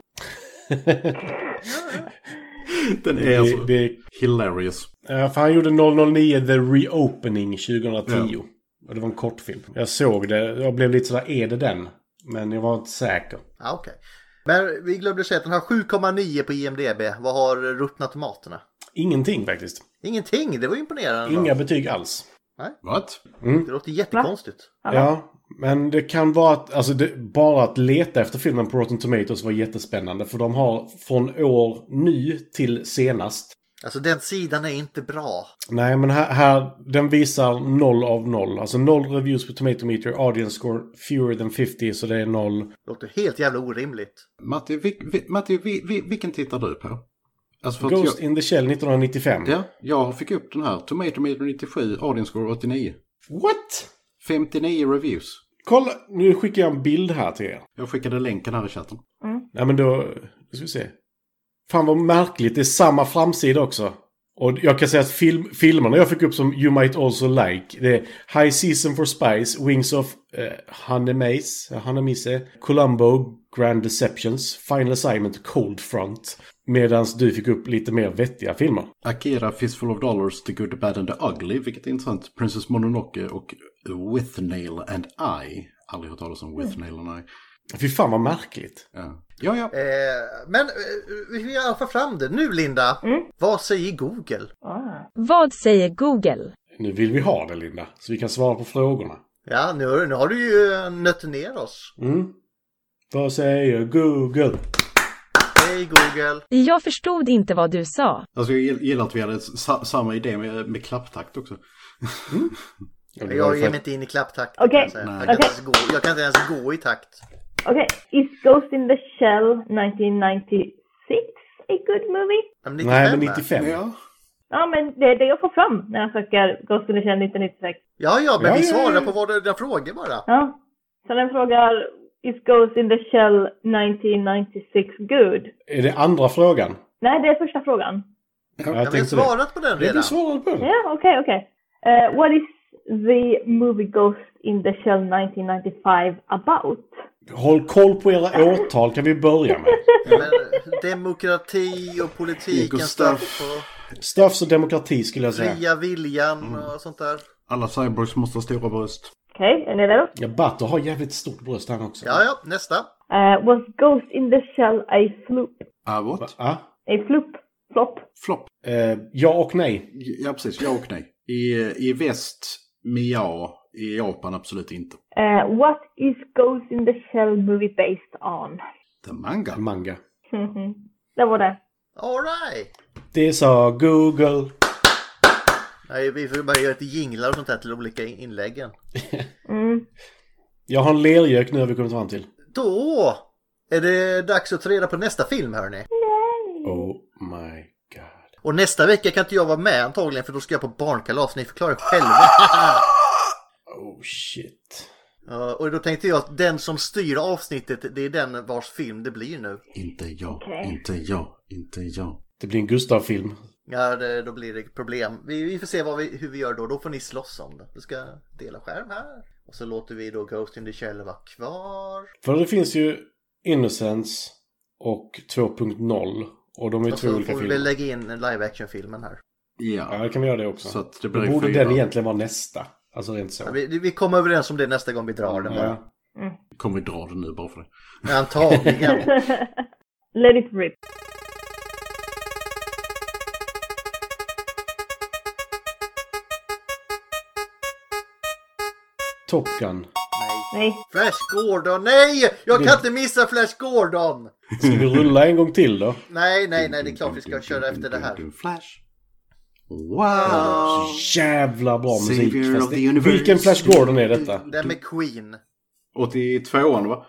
S5: Den är
S4: det,
S5: alltså
S4: det,
S5: hilarious.
S4: eh, för han gjorde 009 The Reopening 2010.
S5: Ja.
S4: Och det var en kortfilm. Jag såg det. Jag blev lite sådär, är det den? Men jag var inte säker.
S1: Ja, ah, okej. Men vi glömde säga att den har 7,9 på IMDB. Vad har ruttna tomaterna?
S4: Ingenting faktiskt.
S1: Ingenting, det var imponerande.
S4: Inga betyg alls.
S5: What?
S1: Det låter jättekonstigt.
S4: Ja, men det kan vara att, alltså det, bara att leta efter filmen på Rotten Tomatoes var jättespännande. För de har från år nu till senast.
S1: Alltså den sidan är inte bra.
S4: Nej, men här, här den visar 0 av 0. Alltså 0 reviews på Tomatometer, audience score fewer than 50, så det är 0.
S1: Låter helt jävla orimligt.
S5: Matti, vil, vil, Matti vil, vil, vilken tittar du på? Alltså för att
S4: Ghost in the Shell 1995.
S5: Ja, jag fick upp den här. Tomato Meter 97, audience score 89.
S4: What?
S5: 59 reviews.
S4: Kolla, nu skickar jag en bild här till er.
S5: Jag skickade länken här i chatten.
S4: Nej, men då, då ska vi se. Fan vad märkligt, det är samma framsida också. Och jag kan säga att film, filmerna jag fick upp som You Might Also Like, det är High Season for Spies, Wings of eh, Hanemise, Hanemise, Columbo, Grand Deceptions, Final Assignment, Cold Front. Medan du fick upp lite mer vettiga filmer.
S5: Akira, Fistful of Dollars, The Good, The Bad and The Ugly, vilket är intressant. Princess Mononoke och Withnail and I. Aldrig hört talas om Withnail and I.
S4: Fy fan vad märkligt.
S5: Ja, ja. ja.
S1: Eh, men eh, vi har i alla fall fram det. Nu Linda, vad säger Google?
S12: Vad säger Google?
S4: Nu vill vi ha det Linda, så vi kan svara på frågorna.
S1: Ja, nu, har- nu har du ju nött ner oss.
S4: Mm. Vad säger Google?
S1: Hej Google!
S12: Jag förstod inte vad du sa.
S5: Alltså jag gill- gillar att vi hade sa samma idé med, med klapptakt också.
S4: Ja, det var
S1: Jag
S4: ju
S1: ger
S4: för-
S1: mig inte in i klapptakt.
S3: Okej.
S1: kan jag säga. Jag, kan inte ens gå, jag kan inte ens gå i takt.
S3: Okej, is Ghost in the Shell 1996 a good movie?
S1: Ja, men 95,
S4: Nej, men
S1: va?
S4: 95.
S5: Ja,
S3: Ja, men det är det jag får fram när jag söker Ghost in the Shell 1996.
S1: Ja, ja, men
S4: Ja,
S1: vi
S4: ja, ja.
S1: svarar på våra dina frågor bara.
S3: Ja. Så den frågar Is Ghost in the Shell 1996 good?
S4: Är det andra frågan?
S3: Nej, det är första frågan.
S4: Ja,
S1: Ja, vi har svarat på den
S4: det. Ja,
S1: redan.
S4: Du svarade på
S3: Ja,
S4: det.
S3: okej, okej. Eh, what is the movie Ghost in the Shell 1995 about?
S4: Håll koll på era årtal kan vi börja med.
S1: Men demokrati och politiken
S5: Gustav.
S1: stuff och
S4: Stuffs och demokrati skulle jag säga.
S1: fria
S4: Mm.
S1: viljan och sånt där.
S5: alla cyborgs måste ha stora bröst.
S3: Okej, är ni redo?
S4: Ja, Butter har jävligt stort bröst han också.
S1: Ja, ja, nästa.
S3: Eh, was Ghost in the Shell a floop?
S5: Ah,
S4: Va?
S5: what?
S4: Ah,
S3: A floop? Flopp?
S5: Flopp.
S4: eh, ja och nej.
S5: Ja, precis. Ja och nej. I, i väst, med ja. I Japan absolut inte.
S3: Eh, what is Ghost in the Shell movie based on?
S5: The manga.
S4: Manga.
S3: Mhm. det var det.
S1: All right.
S4: Det sa Google.
S1: Nej, vi får bara göra lite jinglar och sånt där till olika in- inläggen.
S3: Mm.
S4: Jag har en lergök nu har vi kommit fram till.
S1: Då är det dags att ta reda på nästa film hörni.
S4: Oh my god.
S1: Och nästa vecka kan inte jag vara med antagligen för då ska jag på barnkalas. Ni förklarar själva.
S4: Oh shit.
S1: Ja, och då tänkte jag att den som styr avsnittet det är den vars film det blir nu.
S5: Inte jag,
S3: Okej.
S5: inte jag, inte jag.
S4: Det blir en Gustav-film.
S1: Ja, det, då blir det problem. Vi, vi får se vad vi, hur vi gör då. Då får ni slåss om det. Vi ska dela skärm här. Och så låter vi då Ghost in the Shell vara kvar.
S4: För det finns ju Innocence och 2.0 Och de är
S1: Och
S4: två
S1: så
S4: olika
S1: får vi
S4: filmer.
S1: väl lägga in live action-filmen här.
S5: Ja.
S4: Ja, det kan vi göra det också.
S5: Så att det
S4: Då
S5: blir
S4: borde
S5: fyra.
S4: den egentligen vara nästa. Alltså rent så.
S1: Ja, Vi, vi kommer överens om det nästa gång vi drar den bara.
S4: Ja.
S5: Kommer vi dra den nu bara för det.
S1: Antagligen.
S3: Let it rip.
S4: Top Gun.
S3: Nej.
S1: Flash Gordon, nej! Jag
S4: Du-
S1: kan inte missa Flash Gordon!
S4: Ska vi rulla en gång till då?
S1: Nej, nej, nej, det är klart vi ska köra efter det här.
S5: Flash. Wow!
S4: Jävla bra musik.
S5: Savior
S4: fast
S5: of the
S4: det-
S5: universe.
S4: Vilken Flash Gordon är detta?
S1: Den med Queen.
S5: 82an va?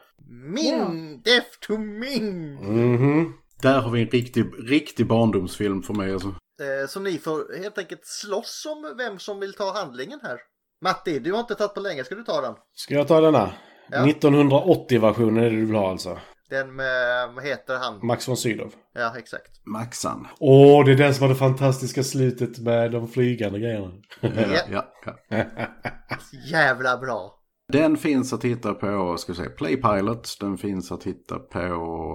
S1: Min death to min!
S5: Mm.
S4: Mhm.
S5: Där har vi en riktig, riktig barndomsfilm för mig alltså.
S1: Eh, så ni får helt enkelt slåss om vem som vill ta handlingen här. Matti, du har inte tagit på länge, ska du ta den?
S4: Ska jag ta denna?
S1: Ja.
S4: 1980-versionen är det du vill ha alltså?
S1: Den med, vad heter han?
S4: Max von Sydow.
S1: Ja, exakt.
S5: Maxan.
S4: Åh, det är den som har det fantastiska slutet med de flygande grejerna.
S5: Ja, Eh, ja, ja.
S1: Jävla bra!
S5: Den finns att hitta på, ska vi säga, Playpilot. Den finns att hitta på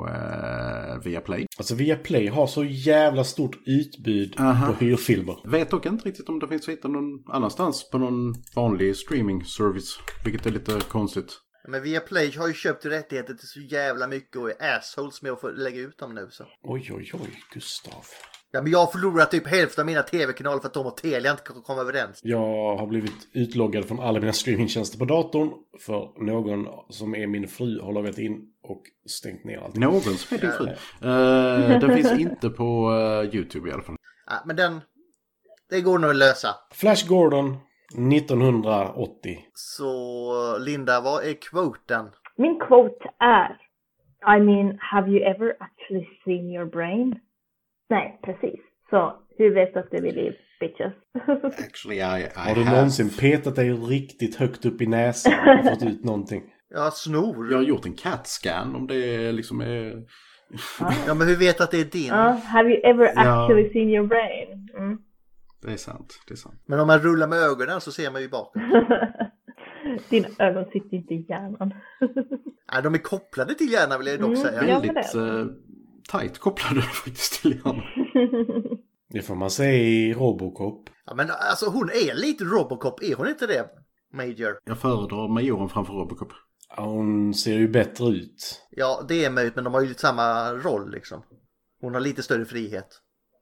S5: eh, Viaplay.
S4: Alltså Viaplay har så jävla stort utbud
S5: Aha.
S4: på hyrfilmer.
S5: Vet dock inte riktigt om det finns att hitta någon annanstans på någon vanlig streaming service. Vilket är lite konstigt.
S1: Men Viaplay har ju köpt rättigheter till så jävla mycket och är assholes med att få lägga ut dem nu så.
S4: Oj, oj, oj, Gustav.
S1: Ja, men jag förlorar typ hälften av mina tv-kanaler för att de och Telia inte kan komma överens.
S4: Jag har blivit utloggad från alla mina streamingtjänster på datorn för någon som är min fru har loggat in och stängt ner allting.
S5: Någon som är din fru. Eh, den finns inte på eh, YouTube i alla fall.
S1: Ja, men den... Det går nog att lösa.
S4: Flash Gordon 1980.
S1: Så Linda, vad är kvoten?
S3: Min quote är I mean, have you ever actually seen your brain? Nej, precis. Så hur vet du att du vill liv, bitches?
S5: Actually, I, I
S4: Har du
S5: have-
S4: någonsin petat dig riktigt högt upp i näsan och fått ut någonting?
S1: Ja, snor.
S5: Jag har gjort en CAT-scan om det liksom är...
S1: Ja, men hur vet att det är din?
S3: Ja, Uh, have you ever
S5: Ja.
S3: actually seen your brain? Mm.
S5: Det är sant, det är sant.
S1: Men om man rullar med ögonen så ser man ju bakåt.
S3: Dina ögon sitter inte i hjärnan.
S1: Nej, de är kopplade till hjärnan vill jag dock
S3: Mm.
S1: säga.
S3: Ja, för
S5: Väldigt
S3: det.
S5: eh, tajt kopplade faktiskt till hjärnan.
S4: Det får man säga i Robocop.
S1: Ja, men alltså hon är lite Robocop, är hon inte det? Major.
S5: Jag föredrar majoren framför Robocop.
S4: Ja, Hon ser ju bättre ut.
S1: Ja, det är möjligt, men de har ju samma roll liksom. Hon har lite större frihet.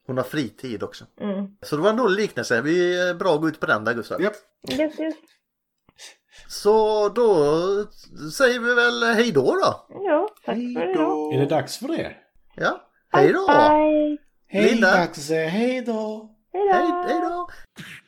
S1: Hon har fritid också.
S3: Mm.
S1: Så det var en dålig liknelse. Vi är bra att gå ut på den där, Gustav.
S5: Japp.
S3: Yes, yes.
S1: Så då säger vi väl hej då då.
S3: Ja, tack för idag.
S4: Är det dags för det?
S1: Ja, hej då!
S3: Bye.
S4: Hej
S1: Linda.
S4: Axel, hej då!
S3: Hej
S1: Hej,
S3: då!
S1: hej då!